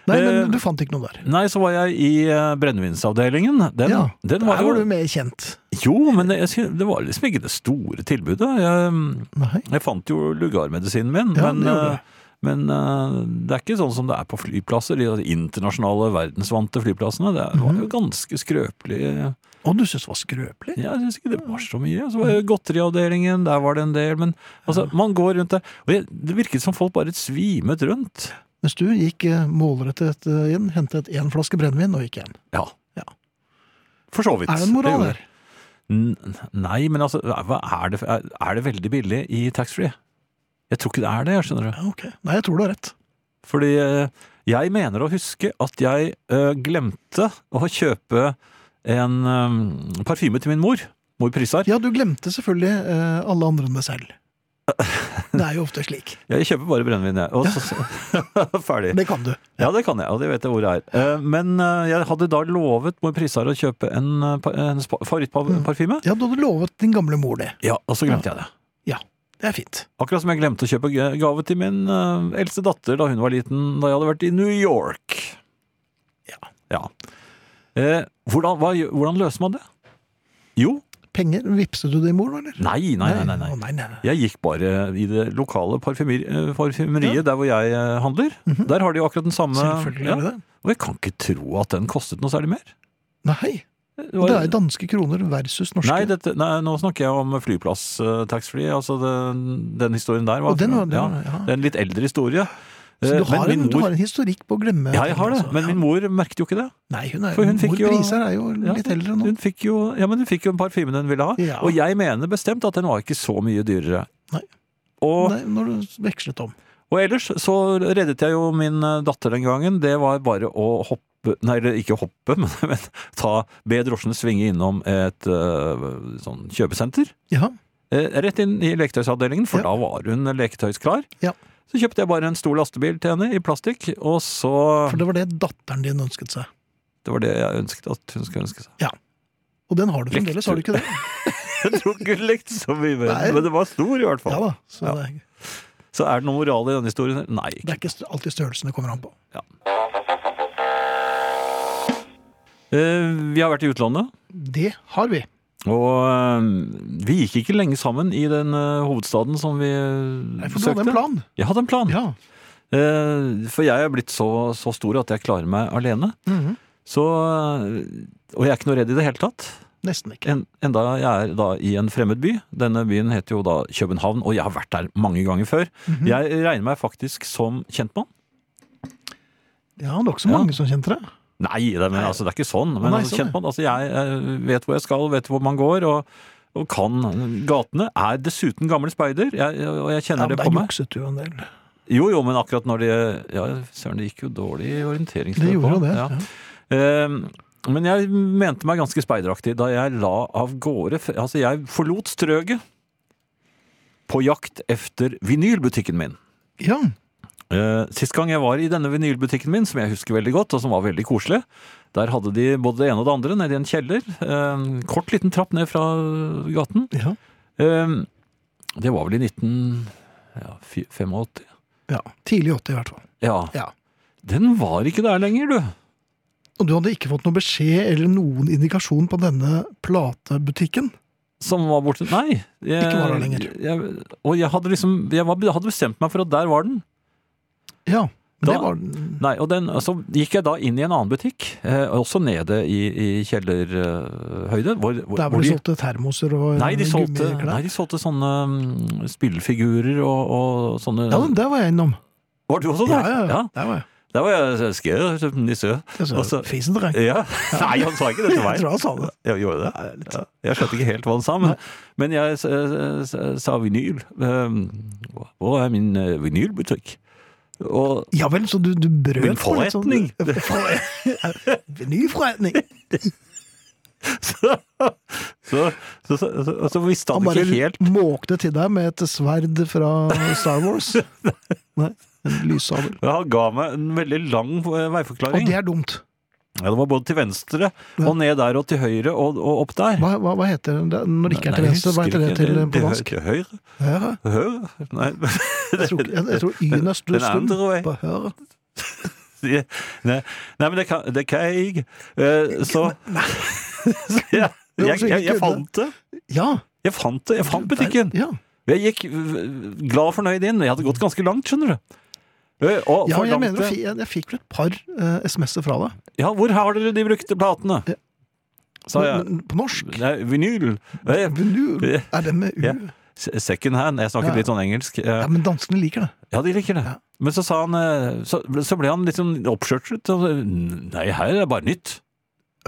Speaker 2: Nei,
Speaker 3: Eh,
Speaker 2: men du fant ikke noe der.
Speaker 3: Nei, så var jeg i eh, brennevinsavdelingen. Den,
Speaker 2: Ja,
Speaker 3: den var
Speaker 2: Der var
Speaker 3: jo
Speaker 2: du mer kjent.
Speaker 3: Jo, men jeg, sy- det var liksom ikke det store tilbudet. Jeg,
Speaker 2: Nei.
Speaker 3: jeg fant jo lugarmedisinen min,
Speaker 2: Ja,
Speaker 3: men,
Speaker 2: det gjorde
Speaker 3: eh,
Speaker 2: du.
Speaker 3: men eh, det er ikke sånn som det er på flyplasser. De altså internasjonale, verdensvante flyplassene. Det er-
Speaker 2: Mhm.
Speaker 3: var jo ganske skrøpelig.
Speaker 2: Og du syntes det var skrøpelig?
Speaker 3: Jeg syns ikke det var så mye. Så var det Godteriavdelingen, der var det en del. Men altså, man går rundt der. Og jeg, det virket som folk bare svimet rundt.
Speaker 2: Mens du gikk eh, målrettet eh, inn, hentet én flaske brennevin og gikk hjem.
Speaker 3: Ja.
Speaker 2: Ja.
Speaker 3: For så vidt.
Speaker 2: Er det en moral
Speaker 3: gjorde
Speaker 2: her?
Speaker 3: N- Nei, men altså, hva er det, er det veldig billig i taxfree? Jeg tror ikke det er det, jeg skjønner du.
Speaker 2: Ja, ok. Nei, jeg tror du har rett.
Speaker 3: Fordi eh, jeg mener å huske at jeg eh, glemte å kjøpe en eh, parfyme til min mor. Mor Prissar.
Speaker 2: Ja, du glemte selvfølgelig eh, alle andre enn deg selv. Det er jo ofte slik.
Speaker 3: Jeg kjøper bare brennevin, jeg. Og så, ferdig.
Speaker 2: Det kan du.
Speaker 3: Ja, det kan jeg, og det vet jeg hvor det er. Eh, Men eh, jeg hadde da lovet mor Prissar å kjøpe en, eh, pa- hennes pa- favorittparfyme.
Speaker 2: Ja, du hadde lovet din gamle mor det.
Speaker 3: Ja, og så glemte jeg det.
Speaker 2: Ja, det er fint.
Speaker 3: Akkurat som jeg glemte å kjøpe g- gave til min eh, eldste datter da hun var liten, da jeg hadde vært i New York.
Speaker 2: Ja.
Speaker 3: Eh, hvordan, hva, gjø- hvordan løser man det? Jo,
Speaker 2: Penger, vipset du det i mor, eller?
Speaker 3: nei, nei, nei. nei,
Speaker 2: Å,
Speaker 3: nei.
Speaker 2: nei, nei, nei.
Speaker 3: Jeg gikk bare i det lokale parfymer, eh, parfymeriet der hvor jeg eh, handler. Der har de jo akkurat den samme.
Speaker 2: Mhm. Selvfølgelig
Speaker 3: ja.
Speaker 2: er det det.
Speaker 3: Og jeg kan ikke tro at den kostet noe særlig mer.
Speaker 2: Nei,
Speaker 3: Det
Speaker 2: det
Speaker 3: var-
Speaker 2: er danske kroner versus norske.
Speaker 3: Nei, dette, nei, nå snakker jeg om flyplass eh, taxfree. Altså den, den historien der var,
Speaker 2: Og den var,
Speaker 3: ja,
Speaker 2: den, ja.
Speaker 3: det er en litt eldre historie.
Speaker 2: Så
Speaker 3: Eh,
Speaker 2: du har,
Speaker 3: men min
Speaker 2: en, du
Speaker 3: mor-
Speaker 2: har en historikk på å glemme
Speaker 3: Ja, jeg
Speaker 2: ting,
Speaker 3: har det,
Speaker 2: altså.
Speaker 3: men
Speaker 2: Ja.
Speaker 3: min mor merket jo ikke det.
Speaker 2: Nei, hun er,
Speaker 3: For hun fikk
Speaker 2: mor
Speaker 3: jo-
Speaker 2: Prisar er jo
Speaker 3: Ja,
Speaker 2: litt eldre nå.
Speaker 3: Hun fikk jo, ja, men hun fikk jo en parfyme hun ville ha,
Speaker 2: Ja.
Speaker 3: og jeg mener bestemt at den var ikke så mye dyrere.
Speaker 2: Nei.
Speaker 3: Og,
Speaker 2: Nei, når du vekslet om.
Speaker 3: og ellers så reddet jeg jo min eh, datter den gangen, det var bare å hoppe, nei eller ikke hoppe, men, men ta, be drosjene svinge innom et eh, sånn kjøpesenter.
Speaker 2: Ja,
Speaker 3: Eh, rett inn i leketøysavdelingen, for
Speaker 2: Ja.
Speaker 3: da var hun leketøysklar.
Speaker 2: Ja.
Speaker 3: Så kjøpte jeg bare en stor lastebil til henne i plastikk, og så
Speaker 2: for det var det datteren din ønsket seg.
Speaker 3: Det var det jeg ønsket at hun skulle ønske seg.
Speaker 2: Og den har du fremdeles, har du ikke det?
Speaker 3: Jeg tror ikke hun lekte så mye med
Speaker 2: Nei.
Speaker 3: den, men det var stor i hvert fall.
Speaker 2: Ja da, så
Speaker 3: Ja.
Speaker 2: Det, er,
Speaker 3: Så er det noe moral i denne historien? Nei.
Speaker 2: det er ikke st- alltid størrelsen det kommer an på.
Speaker 3: Eh, vi har vært i utlandet,
Speaker 2: Det har vi.
Speaker 3: og eh, vi gikk ikke lenge sammen i den eh, hovedstaden som vi eh,
Speaker 2: Nei, for du
Speaker 3: søkte.
Speaker 2: hadde en plan.
Speaker 3: Jeg hadde en plan.
Speaker 2: Ja.
Speaker 3: Eh, for jeg er blitt så, så stor at jeg klarer meg alene.
Speaker 2: Mhm.
Speaker 3: Så, eh, og jeg er ikke noe redd i det hele tatt.
Speaker 2: Nesten ikke.
Speaker 3: En, enda jeg er da i en fremmed by. Denne byen heter jo da København, og jeg har vært der mange ganger før.
Speaker 2: Mhm.
Speaker 3: Jeg regner meg faktisk som kjentmann.
Speaker 2: Ja, det var ikke så mange som kjente det.
Speaker 3: Nei, det, men,
Speaker 2: Nei.
Speaker 3: altså, det er ikke sånn. Men
Speaker 2: Nei,
Speaker 3: altså,
Speaker 2: sånn,
Speaker 3: kjent man, altså, jeg eh, vet hvor jeg skal, vet hvor man går, og, og kan gatene. Er dessuten gammel speider, jeg, og jeg
Speaker 2: Ja,
Speaker 3: kjenner
Speaker 2: men
Speaker 3: det
Speaker 2: der
Speaker 3: på meg.
Speaker 2: jukset du jo en del.
Speaker 3: Jo, jo, men akkurat når de Ja, søren, det gikk jo dårlig i orienteringsløpet.
Speaker 2: Det gjorde jo
Speaker 3: også,
Speaker 2: det.
Speaker 3: ja.
Speaker 2: Ja.
Speaker 3: Ehm, men jeg mente meg ganske speideraktig da jeg la av gårde f- Altså, jeg forlot strøget på jakt efter vinylbutikken min.
Speaker 2: ja.
Speaker 3: Eh, Sist gang jeg var i denne vinylbutikken min, som jeg husker veldig godt, og som var veldig koselig, der hadde de både det ene og det andre nede i en kjeller. eh, En kort liten trapp ned fra gaten.
Speaker 2: Ja.
Speaker 3: Eh, Det var vel i 1985?
Speaker 2: ja. Tidlig 80 i hvert fall.
Speaker 3: Ja.
Speaker 2: Ja.
Speaker 3: Den var ikke der lenger, du.
Speaker 2: Og du hadde ikke fått noen beskjed eller noen indikasjon på denne platebutikken?
Speaker 3: Som var borte. Nei. Jeg,
Speaker 2: Ikke var der lenger.
Speaker 3: Jeg, og jeg hadde liksom Jeg var, hadde bestemt meg for at der var den.
Speaker 2: Ja. Men
Speaker 3: Da-
Speaker 2: det var
Speaker 3: Nei, og den, Så gikk jeg da inn i en annen butikk, eh, også nede i, i kjellerhøyde. Hvor, hvor,
Speaker 2: Der
Speaker 3: hvor
Speaker 2: hvor de
Speaker 3: de-
Speaker 2: solgte termoser og
Speaker 3: Nei, de solgte, nei,
Speaker 2: gummiklær?
Speaker 3: de solgte sånne mm, spillfigurer og, og sånne
Speaker 2: Ja, men der var jeg innom.
Speaker 3: Var du også
Speaker 2: Ja,
Speaker 3: der?
Speaker 2: ja, ja. Der var jeg.
Speaker 3: Der var jeg skrevet som nisse.
Speaker 2: Jeg sa,
Speaker 3: Altså-
Speaker 2: Fisen dere.
Speaker 3: Ja. Nei, han sa ikke det til
Speaker 2: Jeg
Speaker 3: meg.
Speaker 2: tror han sa det.
Speaker 3: Jeg gjorde det. Ja. Jeg skjønte ikke helt hva han sa, men, men jeg s- s- s- sa vinyl. Um, Hvor er min eh, vinylbutikk? Og
Speaker 2: Ja vel, så du, du brøt
Speaker 3: Min
Speaker 2: på litt
Speaker 3: forretning.
Speaker 2: Sånn, Ny forretning!
Speaker 3: så, så, så, så, så, så visste
Speaker 2: Han
Speaker 3: han
Speaker 2: bare
Speaker 3: ikke helt
Speaker 2: måkte til deg med et sverd fra Star Wars. Nei, en lyssaber.
Speaker 3: Han ga meg en veldig lang eh,
Speaker 2: Og
Speaker 3: veiforklaring.
Speaker 2: det er dumt.
Speaker 3: Ja, det var både til venstre
Speaker 2: Ja.
Speaker 3: og ned der og til høyre og, og opp der.
Speaker 2: Hva, hva, hva heter det når det ikke er til
Speaker 3: Nei,
Speaker 2: venstre? Hva
Speaker 3: jeg
Speaker 2: heter det
Speaker 3: husker
Speaker 2: til eh,
Speaker 3: ikke.
Speaker 2: på dansk?
Speaker 3: Til høyre?
Speaker 2: Høyre?
Speaker 3: Høyre? Nei.
Speaker 2: Jeg tror, jeg, jeg tror Y-en er
Speaker 3: Den andre
Speaker 2: stund
Speaker 3: vei.
Speaker 2: på høyre.
Speaker 3: Nei, nei, men det kan, det kan jeg ikke. Eh, så så jeg,
Speaker 2: Det var
Speaker 3: jeg,
Speaker 2: så
Speaker 3: jeg, jeg
Speaker 2: ikke
Speaker 3: fant det.
Speaker 2: Ja.
Speaker 3: Jeg fant det, jeg fant butikken.
Speaker 2: Ja,
Speaker 3: Jeg gikk øh, glad og fornøyd inn. Jeg hadde gått ganske langt, skjønner du. Eh, Og
Speaker 2: ja
Speaker 3: for
Speaker 2: jeg
Speaker 3: langt,
Speaker 2: mener å fi- jeg, jeg fikk vel et par eh, SMS-er fra deg.
Speaker 3: Ja, hvor har dere de brukte platene?
Speaker 2: Ja.
Speaker 3: Sa jeg.
Speaker 2: Men, men på norsk?
Speaker 3: Nei, vinyl. Eh,
Speaker 2: Vinyl.
Speaker 3: Ja.
Speaker 2: Er det med U?
Speaker 3: Ja.
Speaker 2: Ja.
Speaker 3: s- Second hand. Jeg
Speaker 2: Ja.
Speaker 3: snakket litt sånn engelsk. Eh,
Speaker 2: men danskene liker det.
Speaker 3: Ja, de liker det.
Speaker 2: Ja.
Speaker 3: Men så sa han eh, Så, så ble han litt sånn oppskjørtet. og så, Nei, her er det bare nytt.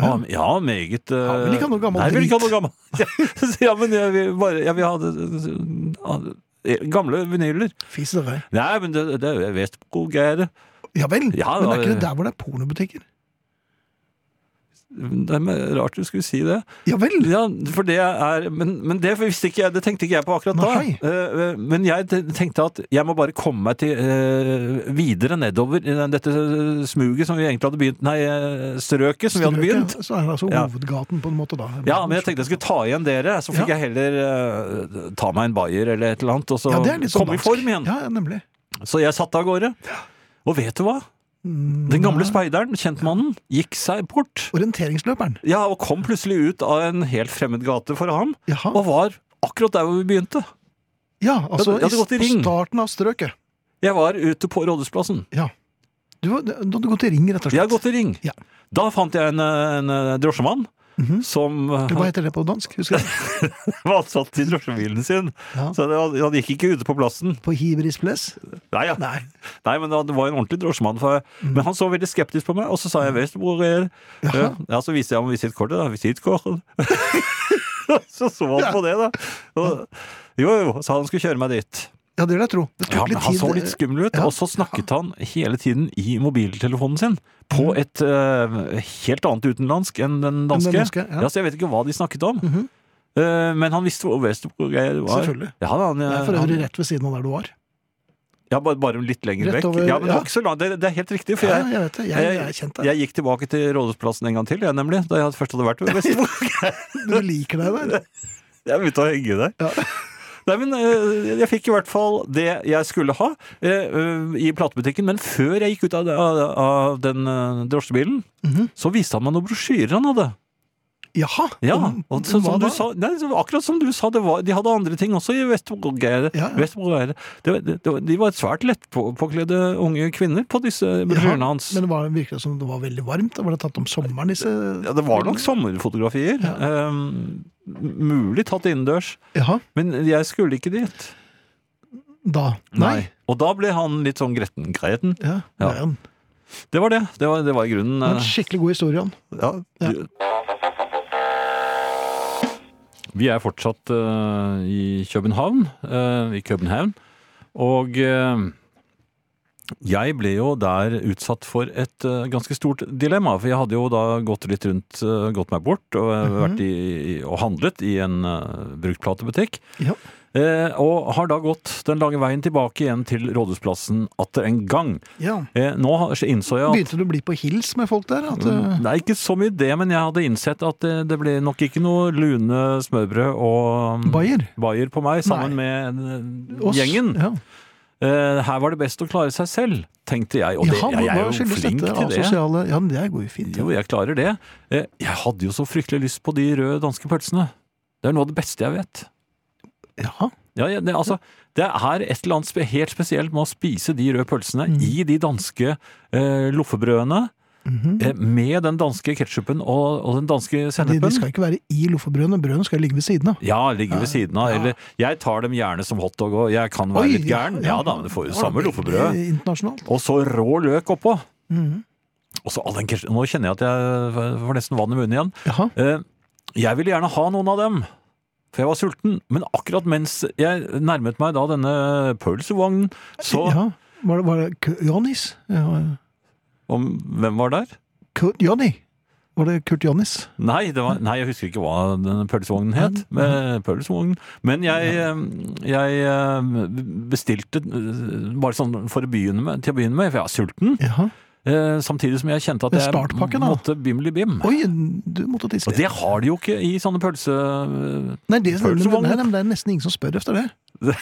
Speaker 3: Ja, men- ja meget eh,
Speaker 2: Han vil ikke ha noe gammelt
Speaker 3: Nei, vil ikke ha
Speaker 2: dritt.
Speaker 3: noe gammelt. ja, men jeg vil bare Jeg vil ha det, eh, gamle vinyler.
Speaker 2: Fis i deg.
Speaker 3: Nei, men det, det jeg vet hvor gøy det er.
Speaker 2: Ja vel,
Speaker 3: Ja,
Speaker 2: men
Speaker 3: da-
Speaker 2: er ikke det der hvor det er pornobutikker?
Speaker 3: Det er rart du skulle si det.
Speaker 2: Ja vel!
Speaker 3: Ja, for det er, men, men det visste ikke jeg, det tenkte ikke jeg på akkurat
Speaker 2: Nei.
Speaker 3: da. Eh, Men jeg te- tenkte at jeg må bare komme meg til eh, videre nedover i den- dette smuget som vi egentlig hadde begynt, nei, eh, strøket som vi hadde begynt.
Speaker 2: Så er det altså
Speaker 3: Ja.
Speaker 2: hovedgaten, på en måte, da.
Speaker 3: Ja, men jeg tenkte jeg skulle ta igjen dere, så fikk
Speaker 2: Ja.
Speaker 3: jeg heller eh, ta meg en bayer eller et eller annet, og så
Speaker 2: Ja, det er litt sånn
Speaker 3: komme i
Speaker 2: dansk.
Speaker 3: form igjen.
Speaker 2: Ja, ja, nemlig.
Speaker 3: Så jeg satt av gårde. Og vet du hva? Den gamle
Speaker 2: Mm,
Speaker 3: speideren, kjentmannen, gikk seg bort.
Speaker 2: Orienteringsløperen.
Speaker 3: Ja, og kom plutselig ut av en helt fremmed gate for ham,
Speaker 2: Jaha.
Speaker 3: og var akkurat der hvor vi begynte.
Speaker 2: Ja, altså
Speaker 3: Ja, det- ja, det har gått i
Speaker 2: på
Speaker 3: ring.
Speaker 2: starten av strøket.
Speaker 3: Jeg var ute på Rådhusplassen.
Speaker 2: Du, du hadde gått i ring, rett og slett.
Speaker 3: Jeg har gått i ring.
Speaker 2: Ja.
Speaker 3: Da fant jeg en, en drosjemann
Speaker 2: Mhm.
Speaker 3: som
Speaker 2: Hva heter det på dansk? Husker jeg.
Speaker 3: var satt i drosjebilen sin.
Speaker 2: Ja.
Speaker 3: Så det, var- han gikk ikke ute på plassen.
Speaker 2: På Hiveris Place?
Speaker 3: Nei, ja.
Speaker 2: Nei. Mhm.
Speaker 3: Nei men det var en ordentlig drosjemann. For, Men han så veldig skeptisk på meg, og så sa jeg 'Vet du hvor jeg er?'
Speaker 2: Jaha.
Speaker 3: Ja, så viste jeg ham visittkortet. da, visittkortet. så så han på det, da. Og, jo, jo, sa han skulle kjøre meg dit.
Speaker 2: Ja, det vil jeg tro. Det tok
Speaker 3: Ja, men
Speaker 2: litt
Speaker 3: han
Speaker 2: tid. eh,
Speaker 3: så litt skummel ut,
Speaker 2: Ja.
Speaker 3: og så snakket han hele tiden i mobiltelefonen sin. På et eh, helt annet utenlandsk enn den danske.
Speaker 2: Mhm. den danske, ja. Mhm.
Speaker 3: ja. Så jeg vet ikke hva de snakket om. Eh, men han visste hvor Westerbrook var.
Speaker 2: Selvfølgelig.
Speaker 3: Ja, han,
Speaker 2: Det er for øvrig rett ved siden av der du var.
Speaker 3: ja, bare, bare litt lenger
Speaker 2: Rett
Speaker 3: vekk.
Speaker 2: over-
Speaker 3: ja, men det, var
Speaker 2: ja.
Speaker 3: ikke så langt. Det, det er helt riktig. For
Speaker 2: Ja,
Speaker 3: jeg,
Speaker 2: jeg vet det. Jeg, jeg, er kjent der.
Speaker 3: jeg gikk tilbake til Rådhusplassen en gang til, jeg, nemlig. Da jeg først hadde vært ved Westerbrook.
Speaker 2: Du liker deg der.
Speaker 3: jeg begynte å henge der.
Speaker 2: Ja.
Speaker 3: Nei, men eh, Jeg fikk i hvert fall det jeg skulle ha eh, eh, i platebutikken. Men før jeg gikk ut av, av, av den eh, drosjebilen,
Speaker 2: Mhm.
Speaker 3: så viste han meg noen brosjyrer han hadde.
Speaker 2: Jaha.
Speaker 3: Ja,
Speaker 2: om-
Speaker 3: og så,
Speaker 2: om hva
Speaker 3: som du
Speaker 2: da?
Speaker 3: sa, nei, så akkurat som du sa, det var, de hadde andre ting også i Vestbrogeire.
Speaker 2: Ja, ja.
Speaker 3: De var svært lettpåkledde unge kvinner på disse brosjyrene
Speaker 2: Jaha,
Speaker 3: hans.
Speaker 2: Men det var, virket det som det var veldig varmt? Da var det tatt om sommeren, disse
Speaker 3: ja, det var nok sommerfotografier. eh, mulig tatt innendørs.
Speaker 2: Jaha.
Speaker 3: Men jeg skulle ikke dit.
Speaker 2: Da. Nei.
Speaker 3: Og da ble han litt sånn gretten. Gretten.
Speaker 2: Ja,
Speaker 3: Ja.
Speaker 2: det er en,
Speaker 3: Det var det. Det var, det var i grunnen
Speaker 2: en
Speaker 3: eh,
Speaker 2: skikkelig god historie. han.
Speaker 3: ja,
Speaker 2: Ja.
Speaker 3: du- Vi er fortsatt eh, i København, eh, i København, og eh, jeg ble jo der utsatt for et eh, ganske stort dilemma, for jeg hadde jo da gått litt rundt, eh, gått meg bort og, eh, vært i, i- og handlet i en uh, bruktplatebutikk,
Speaker 2: Ja.
Speaker 3: eh, og har da gått den lange veien tilbake igjen til Rådhusplassen atter en gang.
Speaker 2: ja.
Speaker 3: Eh, nå har- innså jeg at
Speaker 2: Begynte du å bli på hils med folk der? At, eh,
Speaker 3: det er ikke så mye det, men jeg hadde innsett at det, det ble nok ikke noe lune smørbrød og mm,
Speaker 2: Bayer?
Speaker 3: bayer på meg sammen med eh,
Speaker 2: Oss?
Speaker 3: gjengen.
Speaker 2: Ja.
Speaker 3: Eh, her var det best å klare seg selv, tenkte jeg. Og det,
Speaker 2: Jaha,
Speaker 3: jeg,
Speaker 2: hva
Speaker 3: er jo
Speaker 2: skyldes
Speaker 3: flink
Speaker 2: dette
Speaker 3: til
Speaker 2: av
Speaker 3: det.
Speaker 2: Sosiale... Ja, men det går jo fint.
Speaker 3: Jo, jeg klarer det. Eh, jeg hadde jo så fryktelig lyst på de røde danske pølsene. Det er noe av det beste jeg vet.
Speaker 2: Jaha.
Speaker 3: Ja, ja, det, altså, det er et eller annet spe helt spesielt med å spise de røde pølsene
Speaker 2: Mm.
Speaker 3: i de danske eh, loffebrødene. eh, med den danske ketsjupen og, og den danske
Speaker 2: Mhm. De, de
Speaker 3: sennepen.
Speaker 2: skal ikke være i loffebrødene, brødene skal jo ligge ved siden av.
Speaker 3: Ja, ligger ved siden av.
Speaker 2: Ja.
Speaker 3: Eller jeg tar dem gjerne som hotdog, og jeg kan være
Speaker 2: Oi,
Speaker 3: litt gæren. Ja, da, men du får jo
Speaker 2: Det var
Speaker 3: samme
Speaker 2: veldig
Speaker 3: loffebrød.
Speaker 2: Internasjonalt.
Speaker 3: Og så rå løk oppå.
Speaker 2: Mhm.
Speaker 3: Og så all den ketsjup. Nå kjenner jeg at jeg får nesten vann i munnen igjen.
Speaker 2: Jaha.
Speaker 3: Eh, Jeg ville gjerne ha noen av dem, for jeg var sulten. Men akkurat mens jeg nærmet meg da denne pølsevognen, så
Speaker 2: Ja. Var det, var det Kurt Jonis? Ja.
Speaker 3: om, Hvem var der?
Speaker 2: Kurt Jonny? Var det Kurt Jonis?
Speaker 3: Nei, det var, nei, jeg husker ikke hva den pølsevognen het. Men, eh, pølsevognen. men jeg, eh, jeg eh, bestilte eh, bare sånn for å begynne med, til å begynne med, for jeg var sulten.
Speaker 2: Jaha.
Speaker 3: eh, samtidig som jeg kjente at
Speaker 2: Det er
Speaker 3: jeg
Speaker 2: startpakken, da.
Speaker 3: måtte bimli-bim.
Speaker 2: Oi, du måtte tisse.
Speaker 3: Og det har de jo ikke i sånne pølse...
Speaker 2: Nei, det, men,
Speaker 3: Pølsevogn.
Speaker 2: nei, nei, men det er nesten ingen som spør efter det.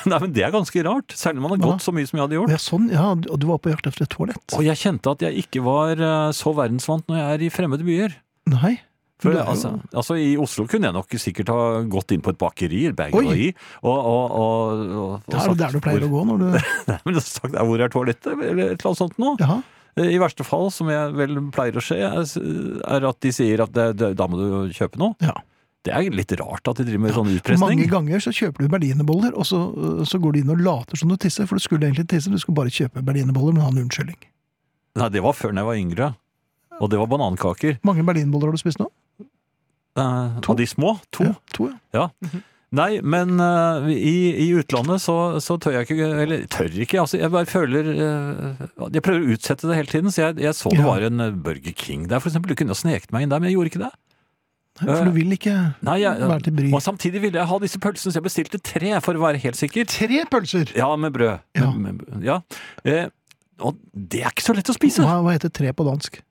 Speaker 3: Nei, men Det er ganske rart, særlig når man har
Speaker 2: Hva da?
Speaker 3: gått så mye som jeg hadde
Speaker 2: Og
Speaker 3: gjort.
Speaker 2: jeg, sånn, ja, og du var på jakt efter et toalett?
Speaker 3: Og jeg kjente at jeg ikke var eh, så verdensvant når jeg er i fremmede byer.
Speaker 2: Nei.
Speaker 3: For
Speaker 2: Du er jo-
Speaker 3: altså, altså I Oslo kunne jeg nok sikkert ha gått inn på et bakeri eller bageri, og, og, og, og, og
Speaker 2: Det er jo der du pleier å gå når du
Speaker 3: Nei, men jeg har sagt, "Ja, hvor er toalettet, eller et eller annet sånt nå.
Speaker 2: Jaha.
Speaker 3: Eh, I verste fall, som jeg vel pleier å se, er s- er at de sier at det, det, da må du kjøpe noe.
Speaker 2: Ja.
Speaker 3: Det er litt rart at de driver med sånn
Speaker 2: Mange
Speaker 3: utpressing.
Speaker 2: ganger så kjøper du berlineboller, og så, øh, så går du inn og later som du tisser, for du skulle egentlig tisse, du skulle bare kjøpe berlineboller, men ha en unnskyldning.
Speaker 3: Nei, det var før da jeg var yngre. Og det var banankaker.
Speaker 2: Mange berlinboller har du spist nå?
Speaker 3: Eh,
Speaker 2: To?
Speaker 3: Av de små. To.
Speaker 2: Ja, to, ja.
Speaker 3: Nei, men eh, i, i utlandet så, så tør jeg ikke Eller tør ikke, altså. Jeg bare føler eh, Jeg prøver å utsette det hele tiden, så jeg, jeg så det
Speaker 2: Ja.
Speaker 3: var en eh, Burger King der, for eksempel. Du kunne ha sneket meg inn der, men jeg gjorde ikke det. Eh.
Speaker 2: For du vil ikke
Speaker 3: Nei, jeg,
Speaker 2: være til bry.
Speaker 3: og samtidig ville jeg ha disse pølsene, så jeg bestilte tre, for å være helt sikker.
Speaker 2: Tre pølser!
Speaker 3: Ja, med brød.
Speaker 2: Ja.
Speaker 3: Med, med, ja. Eh, og det er ikke så lett å spise.
Speaker 2: Hva, hva heter tre på dansk?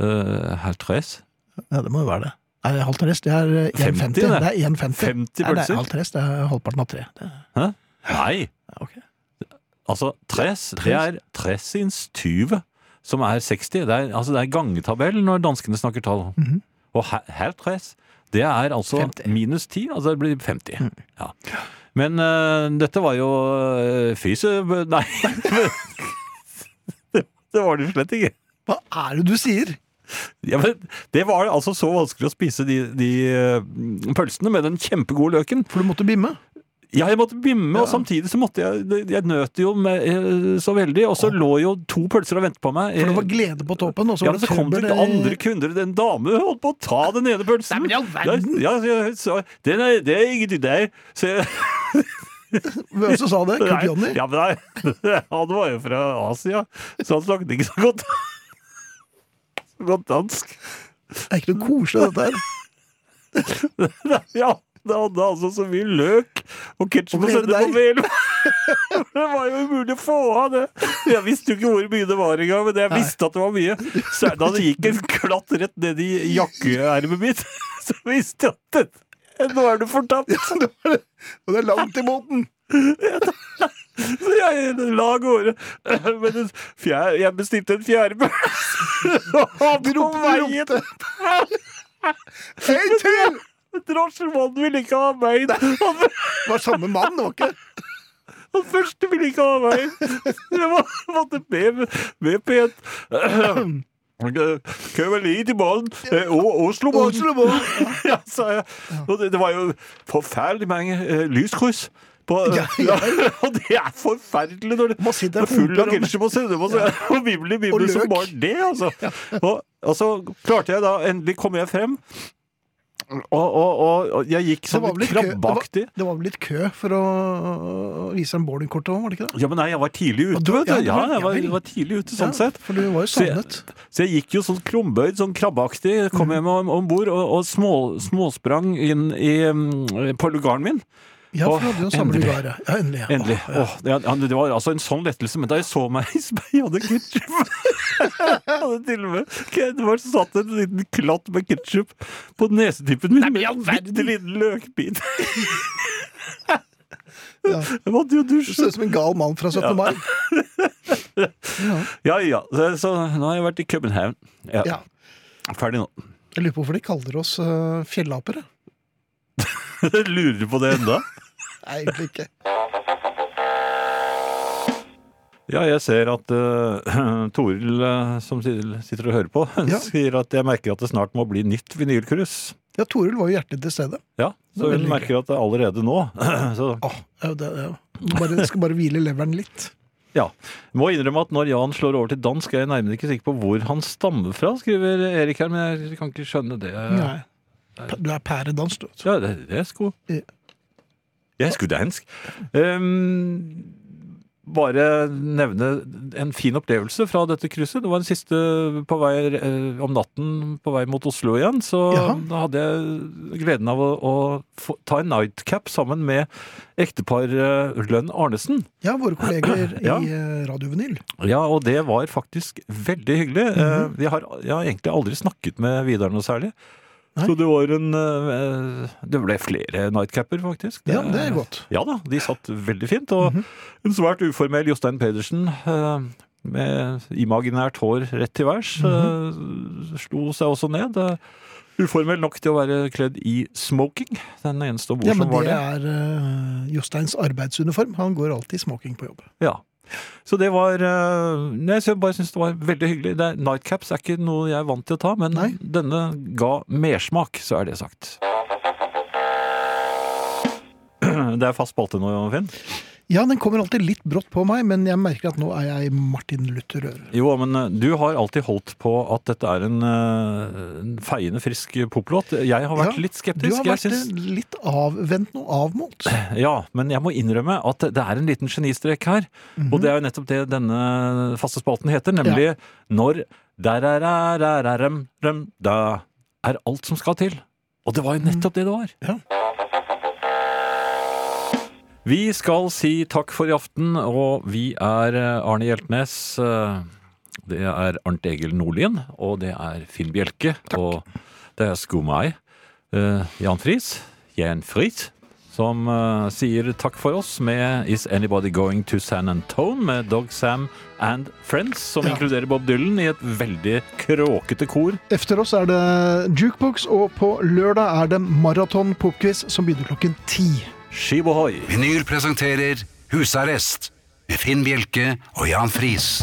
Speaker 3: Eh, herr Tres.
Speaker 2: Ja, det må jo være det. Nei, det er halvt rest. Det er øh, 1,50.
Speaker 3: 50,
Speaker 2: det.
Speaker 3: det.
Speaker 2: er 1,50.
Speaker 3: 50
Speaker 2: Nei, det er
Speaker 3: pølser?
Speaker 2: halvt rest. Det er halvparten av tre. Det,
Speaker 3: Nei.
Speaker 2: ja, ok.
Speaker 3: Altså, tres, det
Speaker 2: Tres.
Speaker 3: er tressins 20, som er 60. Det er, altså, det er gangetabell når danskene snakker tall.
Speaker 2: Mhm.
Speaker 3: Og her, her tres, det er altså
Speaker 2: 50.
Speaker 3: minus 10, altså det blir 50. Ja. Men øh, dette var jo øh, fyse... Nei, men- det, det var det jo slett ikke.
Speaker 2: Hva er det du sier?!
Speaker 3: Ja, men det var altså så vanskelig å spise de, de øh, pølsene med den kjempegode løken.
Speaker 2: For du måtte bimme.
Speaker 3: Ja, jeg måtte bimme, og
Speaker 2: Ja.
Speaker 3: samtidig så måtte jeg det- Jeg nøt jo med, eh, så veldig, og så lå jo to pølser og ventet på meg.
Speaker 2: For det
Speaker 3: Eh,
Speaker 2: var glede på toppen, og så
Speaker 3: ja,
Speaker 2: var
Speaker 3: men
Speaker 2: det
Speaker 3: så kom det
Speaker 2: trøbbel.
Speaker 3: andre kunder. Den dame holdt på å ta den ene pølsen.
Speaker 2: Nei, men i all verden.
Speaker 3: Ja, ja, så, den er, det er ikke til deg. Så jeg,
Speaker 2: eh, Hvem som sa det? Kurt Jonny?
Speaker 3: Ja, men nei, han var jo fra Asia, så han snakket ikke så godt Så godt dansk.
Speaker 2: Er ikke noe koselig, dette her?
Speaker 3: Ja, det hadde altså så mye løk og ketsjup
Speaker 2: Og
Speaker 3: og sende på
Speaker 2: leverdeig.
Speaker 3: mail. Det var jo umulig å få av det. Jeg visste jo ikke hvor mye det var engang, men jeg
Speaker 2: Nei.
Speaker 3: visste at det var mye. Så da det gikk en klatt rett ned i jakkeermet mitt, så visste jeg at det, nå er du fortapt.
Speaker 2: Det var det. Og det er langt i båten!
Speaker 3: Så jeg la av gårde. Men en fjerde, jeg bestilte en fjerde pølse. Og på
Speaker 2: ropte,
Speaker 3: veien
Speaker 2: du En til!
Speaker 3: Drosjemannen ville ikke ha meg. Han
Speaker 2: Det var samme mann, det var ikke
Speaker 3: Han første ville ikke ha meg. Jeg må- måtte be, be pent. Kommer litt i ballen. Oslo-ballen, ja, sa jeg. Og det, det var jo forferdelig mange eh, lyskryss. På,
Speaker 2: Ja, ja.
Speaker 3: og det er forferdelig når det
Speaker 2: Må sitte
Speaker 3: er full av
Speaker 2: opera-
Speaker 3: ketsjup og sennep og så- og bibel i bibel
Speaker 2: Og
Speaker 3: som
Speaker 2: løk.
Speaker 3: bare det, altså. Og, og så klarte jeg da Endelig kom jeg frem. Og, og, og, og jeg gikk
Speaker 2: Det
Speaker 3: sånn
Speaker 2: var vel
Speaker 3: litt
Speaker 2: litt kø, det var,
Speaker 3: krabbeaktig.
Speaker 2: det var vel litt kø for å øh, vise dem boardingkortet òg, var det ikke det?
Speaker 3: Ja, men nei, jeg var tidlig
Speaker 2: Og
Speaker 3: ute,
Speaker 2: du-
Speaker 3: vet du.
Speaker 2: ja,
Speaker 3: Ja,
Speaker 2: du var-
Speaker 3: jeg var,
Speaker 2: ja vel.
Speaker 3: jeg var tidlig ute, sånn
Speaker 2: Ja,
Speaker 3: sett.
Speaker 2: For du var jo
Speaker 3: Så jeg-
Speaker 2: savnet.
Speaker 3: Så jeg gikk jo sånn krumbøyd, sånn krabbeaktig, kom
Speaker 2: Mm.
Speaker 3: hjem om bord og, og små, småsprang inn i, mm, på lugaren min.
Speaker 2: Ja, for
Speaker 3: Åh,
Speaker 2: du hadde jo samme
Speaker 3: endelig.
Speaker 2: lugar. ja. Ja, endelig. ja.
Speaker 3: Endelig. Åh, det, ja, det var altså en sånn lettelse, men da jeg så meg i speilet, jeg hadde ketsjup. Jeg hadde til og med Det var satt en liten klatt med ketsjup på nesetippen min, med en bitte liten løkbit.
Speaker 2: Ja.
Speaker 3: Jeg måtte jo
Speaker 2: Du
Speaker 3: dusje.
Speaker 2: ser ut som en gal mann fra 17. mai. Ja.
Speaker 3: Ja, ja. Så, så nå har jeg vært i København. Ja,
Speaker 2: ja.
Speaker 3: Ferdig nå.
Speaker 2: Jeg lurer på hvorfor de kaller oss øh, fjellaper. jeg.
Speaker 3: Lurer du på det enda?
Speaker 2: Nei, egentlig ikke.
Speaker 3: Ja, jeg ser at eh, Toril, eh, som sitter sitter og hører på,
Speaker 2: Ja.
Speaker 3: sier at jeg merker at det snart må bli nytt vinylkrus.
Speaker 2: Ja, Toril var jo hjertelig til stede.
Speaker 3: Ja,
Speaker 2: Det er
Speaker 3: så hun
Speaker 2: veldig
Speaker 3: merker at det er allerede nå. så
Speaker 2: Åh, ja, det, ja. Bare, jeg skal bare hvile leveren litt.
Speaker 3: ja. Må innrømme at når Jan slår over til dansk, er jeg nærmere ikke sikker på hvor han stammer fra, skriver Erik her, men jeg kan ikke skjønne det.
Speaker 2: Nei. Du er pæredans, du.
Speaker 3: Ja, det, det er sko.
Speaker 2: Ja.
Speaker 3: Jeg er skudansk. Um, bare nevne en fin opplevelse fra dette krysset. Det var den siste på vei, eh, om natten på vei mot Oslo igjen. Så
Speaker 2: Jaha.
Speaker 3: da hadde jeg gleden av å, å få, ta en nightcap sammen med ektepar eh, Lønn Arnesen.
Speaker 2: Ja, våre kolleger
Speaker 3: Ja.
Speaker 2: i eh, Radio Vinyl.
Speaker 3: Ja, og det var faktisk veldig hyggelig. Eh,
Speaker 2: Mhm.
Speaker 3: Vi har, jeg har egentlig aldri snakket med Vidar noe særlig.
Speaker 2: Nei.
Speaker 3: Så det var en eh, Det ble flere nightcapper, faktisk.
Speaker 2: Ja, det er godt. Mhm.
Speaker 3: Ja da, de satt veldig fint. Og en svært uformell Jostein Pedersen eh, med imaginært hår rett til værs
Speaker 2: Mhm.
Speaker 3: eh, slo seg også ned. Eh, Uformell nok til å være kledd i smoking. Den eneste om bord
Speaker 2: Ja,
Speaker 3: som
Speaker 2: men
Speaker 3: var
Speaker 2: det
Speaker 3: det.
Speaker 2: er eh, Josteins arbeidsuniform. Han går alltid i smoking på jobb.
Speaker 3: Ja. Så det var eh, Nei, så jeg bare syns det var veldig hyggelig. Det er, nightcaps er ikke noe jeg er vant til å ta, men
Speaker 2: Nei.
Speaker 3: denne ga mersmak, så er det sagt. Det er fast spalte nå, Finn?
Speaker 2: Ja, den kommer alltid litt brått på meg, men jeg merker at nå er jeg Martin Luther Øre.
Speaker 3: Jo, men eh, du har alltid holdt på at dette er en, eh, en feiende frisk poplåt. Jeg har vært
Speaker 2: Ja,
Speaker 3: litt
Speaker 2: Du
Speaker 3: skeptisk.
Speaker 2: har
Speaker 3: Jeg
Speaker 2: vært
Speaker 3: syns-
Speaker 2: eh, litt avventende og avmålt.
Speaker 3: Ja, men jeg må innrømme at det er en liten genistrek her. Og det er jo nettopp det denne faste spalten heter, nemlig når dererererem, rem, da er alt som skal til. Og det var jo nettopp det det var. Vi skal si takk for i aften, og vi er eh, Arne Hjeltnes. eh, Det er Arnt Egil Nordlien, og det er Finn Bjelke. Og det er Skumai. eh, Jan Friis. Jan Friis som eh, sier takk for oss med Is Anybody Going to San Antone med Dog Sam and Friends, som
Speaker 2: Ja.
Speaker 3: inkluderer Bob Dylan i et veldig kråkete kor.
Speaker 2: Efter oss er det jukebox, og på lørdag er det maraton popquiz som begynner klokken ti.
Speaker 3: Skibohoi!
Speaker 1: Vinyl presenterer Husarrest med Finn Bjelke og Jan Friis.